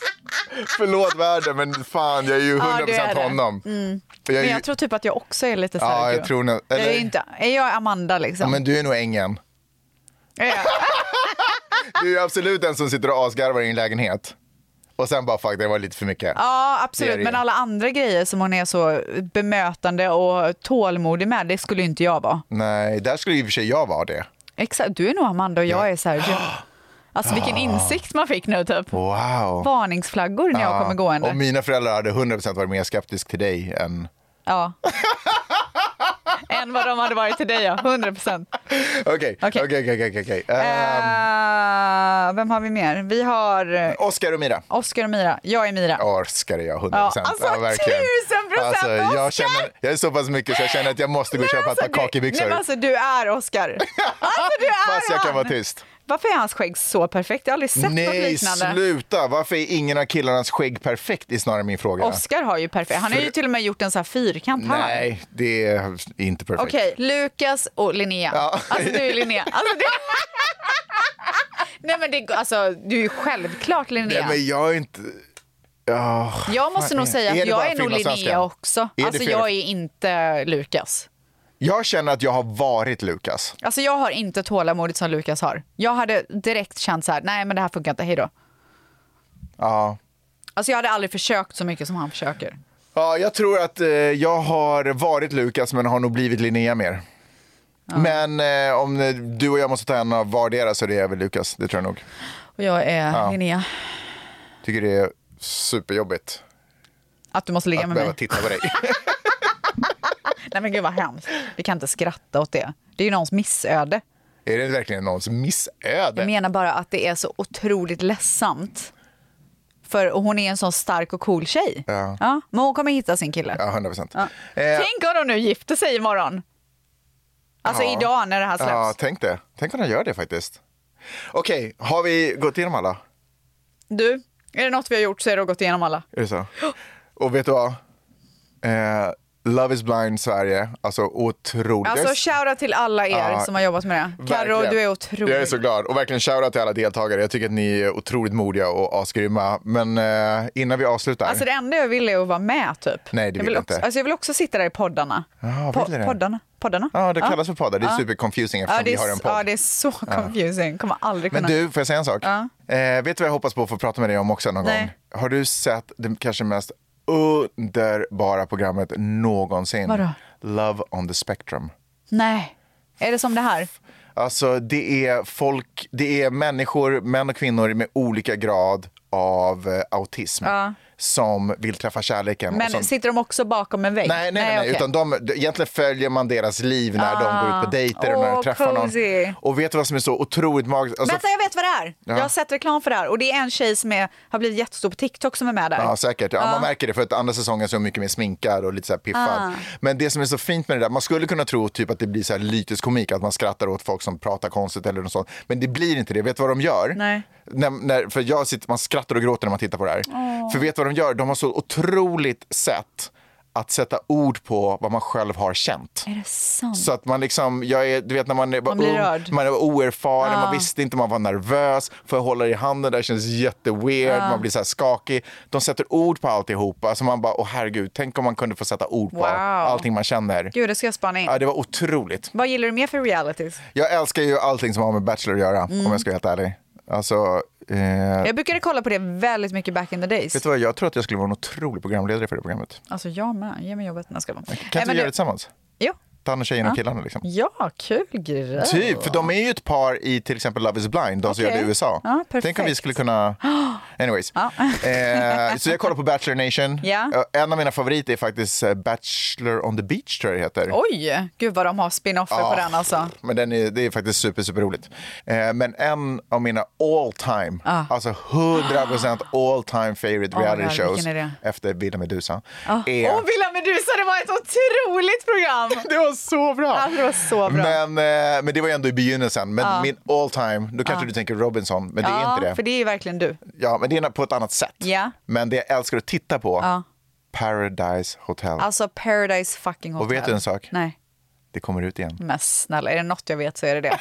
Speaker 4: förlåt världen, men fan jag är ju 100%
Speaker 5: Ja, du är det.
Speaker 4: honom.
Speaker 5: Mm.
Speaker 4: Jag är
Speaker 5: men
Speaker 4: ju-
Speaker 5: jag tror typ att jag också är lite Sergio.
Speaker 4: Ja, jag tror nog-
Speaker 5: Jag
Speaker 4: eller-
Speaker 5: är, inte, är jag Amanda liksom?
Speaker 4: Ja, men du är nog ängen. Du är ju absolut den som sitter och asgarvar i din lägenhet. Och sen bara fuck det var lite för mycket.
Speaker 5: Ja,
Speaker 4: Det är
Speaker 5: absolut.
Speaker 4: det.
Speaker 5: Men alla andra grejer som hon är så bemötande och tålmodig med, det skulle inte jag vara.
Speaker 4: Nej, där skulle ju i och för sig jag vara det.
Speaker 5: Exakt, du är nog Amanda och jag är Sergio. Alltså vilken
Speaker 4: Ah.
Speaker 5: insikt man fick nu typ.
Speaker 4: Wow.
Speaker 5: Varningsflaggor när jag
Speaker 4: Ja,
Speaker 5: kommer gående.
Speaker 4: Och mina föräldrar hade 100% varit mer skeptisk till dig än...
Speaker 5: Ja. Än vad de hade varit till dig, ja. 100 procent.
Speaker 4: Okej, okej, okej, okej, okej.
Speaker 5: Eh.
Speaker 4: Ehm,
Speaker 5: vem har vi mer? Vi har
Speaker 4: Oscar och Mira.
Speaker 5: Oscar och Mira. Jag är Mira.
Speaker 4: Oscar är jag 100
Speaker 5: Ja,
Speaker 4: procent. Alltså,
Speaker 5: alltså, 1000% Oscar!
Speaker 4: jag, känner, jag är så pass mycket så jag känner att jag måste gå och köpa ett par
Speaker 5: Nej,
Speaker 4: kakibyxor.
Speaker 5: men alltså, du är Oscar. Alltså, du är
Speaker 4: Fast jag kan
Speaker 5: han.
Speaker 4: vara tyst.
Speaker 5: Varför är hans skägg så perfekt? Jag har aldrig sett något
Speaker 4: Nej,
Speaker 5: liknande.
Speaker 4: sluta! Varför är ingen av killarnas skägg perfekt? är snarare min fråga.
Speaker 5: Oscar har ju perfekt. Han har ju till och med gjort en så här fyrkant här.
Speaker 4: Nej, det är inte perfekt.
Speaker 5: Okej, Lukas och Linnea. Alltså du [LAUGHS] är Linnea. Alltså, det... Nej men det, alltså, du är ju självklart Linnea.
Speaker 4: Nej, men jag är inte... Ja,
Speaker 5: Jag måste
Speaker 4: fan,
Speaker 5: nog säga
Speaker 4: det
Speaker 5: att
Speaker 4: bara
Speaker 5: jag är nog
Speaker 4: finlandssvenskan?
Speaker 5: Linnea också.
Speaker 4: det
Speaker 5: Alltså
Speaker 4: fel-
Speaker 5: jag är inte Lukas.
Speaker 4: Jag känner att jag har varit Lukas.
Speaker 5: Alltså jag har inte tålamodet som Lukas har. Jag hade direkt känt så här, nej men det här funkar inte, hejdå.
Speaker 4: Ja.
Speaker 5: Alltså jag hade aldrig försökt så mycket som han försöker.
Speaker 4: Ja, jag tror att eh, jag har varit Lukas men har nog blivit Linnea mer. Men eh, om eh, du och jag måste ta en av vardera så är det jag väl Lukas. Det tror jag nog.
Speaker 5: Och jag är
Speaker 4: Ja.
Speaker 5: Linnea.
Speaker 4: Tycker det är superjobbigt
Speaker 5: Att du måste ligga
Speaker 4: att
Speaker 5: med
Speaker 4: behöva
Speaker 5: mig.
Speaker 4: titta på
Speaker 5: [LAUGHS]
Speaker 4: dig.
Speaker 5: Nej men gud vad hemskt. Vi kan inte skratta åt det. Det är ju någons missöde.
Speaker 4: är det verkligen någons missöde?
Speaker 5: Jag menar bara att det är så otroligt ledsamt. För och hon är en sån stark och cool tjej.
Speaker 4: Ja.
Speaker 5: Ja, men hon kommer hitta sin kille.
Speaker 4: Ja, 100 procent. Eh,
Speaker 5: Ja. Tänk om de nu gifter sig imorgon. Alltså
Speaker 4: Ja.
Speaker 5: idag när det här släpps.
Speaker 4: Ja, tänk det. Tänk om de gör det faktiskt. Okej, har vi gått igenom alla?
Speaker 5: Du, är det något vi har gjort så är det att gått igenom alla.
Speaker 4: Är det så? Och vet du vad? Eh, Love is blind Sverige, alltså otroligt.
Speaker 5: Alltså shoutout till alla er
Speaker 4: Ja.
Speaker 5: som har jobbat med det. Carro,
Speaker 4: Verkligen.
Speaker 5: du är otrolig.
Speaker 4: Jag är så glad. Och verkligen shoutout till alla deltagare. Jag tycker att ni är otroligt modiga och asgrymma. Men eh, innan vi avslutar.
Speaker 5: Alltså det enda jag vill är att vara med typ.
Speaker 4: Nej, det
Speaker 5: jag
Speaker 4: vill jag
Speaker 5: också,
Speaker 4: inte.
Speaker 5: Alltså jag vill också sitta där i poddarna.
Speaker 4: Ja,
Speaker 5: Po-
Speaker 4: vill du det?
Speaker 5: poddarna. poddarna.
Speaker 4: Ja, det kallas för poddar. Det är
Speaker 5: Ja.
Speaker 4: superconfusing eftersom
Speaker 5: det
Speaker 4: vi
Speaker 5: är
Speaker 4: har en
Speaker 5: s-
Speaker 4: podd.
Speaker 5: Ja, det är så
Speaker 4: Ja.
Speaker 5: confusing. Kommer aldrig
Speaker 4: Men
Speaker 5: kunna...
Speaker 4: du, får jag säga en sak?
Speaker 5: Ja.
Speaker 4: Eh, vet du vad jag hoppas på att få prata med dig om också någon
Speaker 5: Nej.
Speaker 4: gång? Har du sett det kanske mest underbara programmet någonsin?
Speaker 5: Vadå?
Speaker 4: Love on the spectrum.
Speaker 5: Nej. Är det som det här?
Speaker 4: Alltså det är folk, det är människor, män och kvinnor med olika grad av eh, autism
Speaker 5: Ja.
Speaker 4: som vill träffa kärleken.
Speaker 5: Men
Speaker 4: och som...
Speaker 5: sitter de också bakom en vägg?
Speaker 4: Nej, nej, nej, nej
Speaker 5: okej.
Speaker 4: utan de, d- egentligen följer man deras liv när
Speaker 5: Ah.
Speaker 4: de går ut på dejter och när
Speaker 5: Åh,
Speaker 4: de träffar
Speaker 5: cozy.
Speaker 4: någon. Och vet du vad som är så otroligt magiskt? Alltså,
Speaker 5: Vänta, jag vet vad det är.
Speaker 4: Ja.
Speaker 5: Jag har sett reklam för det här och det är en tjej som är, har blivit jättestor på TikTok som är med där.
Speaker 4: Ja, säkert. Ja,
Speaker 5: Ja.
Speaker 4: Man märker det för att andra säsongen så är hon mycket mer sminkad och lite så här piffad.
Speaker 5: Ah.
Speaker 4: Men det som är så fint med det där, man skulle kunna tro typ att det blir så här lytisk komik, att man skrattar åt folk som pratar konstigt eller något sånt. Men det blir inte det. Vet du vad de gör?
Speaker 5: Nej.
Speaker 4: När, när, för jag sitter, man skrattar och gråter när man tittar på det här.
Speaker 5: Åh.
Speaker 4: För vet du vad de gör? De har så otroligt sätt att sätta ord på vad man själv har känt.
Speaker 5: Är det sant?
Speaker 4: Så att man liksom, jag är, du vet när man är- var
Speaker 5: Mm. Man blir
Speaker 4: ung,
Speaker 5: rörd.
Speaker 4: man var oerfaren,
Speaker 5: Ah.
Speaker 4: man visste inte, man var nervös. Får jag hålla i handen? Det här känns jätteweird,
Speaker 5: Ah.
Speaker 4: man blir så här skakig. De sätter ord på alltihopa. Alltså man bara, åh herregud, tänk om man kunde få sätta ord på
Speaker 5: Wow.
Speaker 4: allting man känner.
Speaker 5: Gud, det ska jag spana in.
Speaker 4: Ja, det var otroligt.
Speaker 5: Vad gillar du mer för realities?
Speaker 4: Jag älskar ju allting som har med Bachelor att göra,
Speaker 5: Mm.
Speaker 4: om jag ska vara helt ärlig. Alltså, eh,
Speaker 5: Jag brukade kolla på det väldigt mycket back in the days.
Speaker 4: vet du vad, jag tror att jag skulle vara en otrolig programledare för det programmet.
Speaker 5: Alltså jag med, ge mig jobbet. när jag ska vara.
Speaker 4: Kan inte vi göra det tillsammans?
Speaker 5: Jo.
Speaker 4: Ta hand om tjejerna och
Speaker 5: Ja.
Speaker 4: killarna liksom.
Speaker 5: Ja, kul grej.
Speaker 4: Typ, för de är ju ett par i till exempel Love is blind, de som
Speaker 5: Oh. Okej.
Speaker 4: gör det i USA.
Speaker 5: Ja, perfekt.
Speaker 4: Tänk om vi skulle kunna...
Speaker 5: [GASPS]
Speaker 4: Anyways. [LAUGHS] eh, så jag kollar på Bachelor Nation.
Speaker 5: Ja.
Speaker 4: Eh, En av mina favoriter är faktiskt eh, Bachelor on the beach, tror jag det heter.
Speaker 5: Oj, gud vad de har spin-offer
Speaker 4: Ja.
Speaker 5: på den alltså.
Speaker 4: Men den är, det är faktiskt super, super roligt. Eh, men en av mina all time,
Speaker 5: Ah.
Speaker 4: alltså
Speaker 5: [GASPS]
Speaker 4: 100% all time favorite
Speaker 5: Oh my
Speaker 4: reality
Speaker 5: God,
Speaker 4: shows
Speaker 5: vilken är
Speaker 4: efter Villa Medusa.
Speaker 5: Åh,
Speaker 4: är-
Speaker 5: oh, Villa Medusa, det var ett otroligt program!
Speaker 4: [LAUGHS] det var så bra!
Speaker 5: Alltså, det var så bra.
Speaker 4: Men, eh, men det var ju ändå i begynnelsen. Men
Speaker 5: Ja.
Speaker 4: min all time, då kanske
Speaker 5: Ja.
Speaker 4: du tänker Robinson, men det
Speaker 5: Ah. ja,
Speaker 4: är inte det.
Speaker 5: för det är ju verkligen du.
Speaker 4: Ja, men det är på ett annat sätt.
Speaker 5: Ja.
Speaker 4: Men det jag älskar att titta på,
Speaker 5: Ja.
Speaker 4: Paradise Hotel.
Speaker 5: Alltså Paradise fucking Hotel.
Speaker 4: Och vet du en sak?
Speaker 5: Nej,
Speaker 4: Det kommer ut igen.
Speaker 5: men snälla, är det något jag vet så är
Speaker 4: [LAUGHS]
Speaker 5: det det.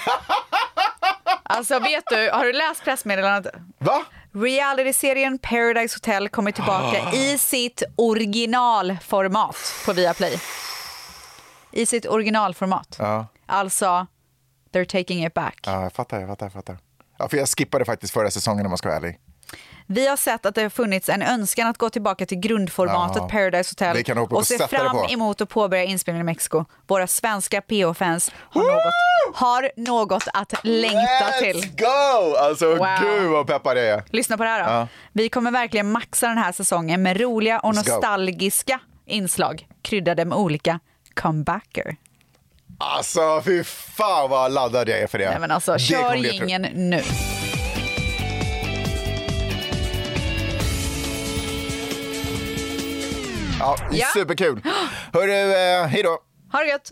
Speaker 5: Alltså vet du, har du läst pressmeddelandet?
Speaker 4: Va?
Speaker 5: Reality-serien Paradise Hotel
Speaker 4: [GASPS]
Speaker 5: kommer tillbaka i sitt originalformat på Viaplay. I sitt originalformat.
Speaker 4: Ja,
Speaker 5: Alltså, they're taking it back.
Speaker 4: ja jag fattar, jag fattar, jag fattar. Ja, för jag skippade faktiskt förra säsongen om man ska vara ärlig.
Speaker 5: Vi har sett att det har funnits en önskan att gå tillbaka till grundformatet
Speaker 4: Ja.
Speaker 5: Paradise
Speaker 4: Det
Speaker 5: Hotel
Speaker 4: kan jag hoppas
Speaker 5: och
Speaker 4: att
Speaker 5: se
Speaker 4: sätta det
Speaker 5: fram
Speaker 4: på.
Speaker 5: emot att påbörja inspelningen i Mexiko. Våra svenska PH-fans har något, har något att längta till.
Speaker 4: Let's go! Alltså
Speaker 5: Wow.
Speaker 4: gud vad peppad jag är.
Speaker 5: Lyssna på det här då.
Speaker 4: Ja.
Speaker 5: Vi kommer verkligen maxa den här säsongen med roliga och
Speaker 4: Let's go.
Speaker 5: nostalgiska inslag kryddade med olika comebacker.
Speaker 4: Alltså fy fan vad laddad jag är för det.
Speaker 5: Nej, men alltså,
Speaker 4: Det
Speaker 5: kör
Speaker 4: kommer bli otroligt.
Speaker 5: jingeln nu.
Speaker 4: Ja,
Speaker 5: Ja.
Speaker 4: Superkul. Hörru, eh, hej då.
Speaker 5: Ha det gött!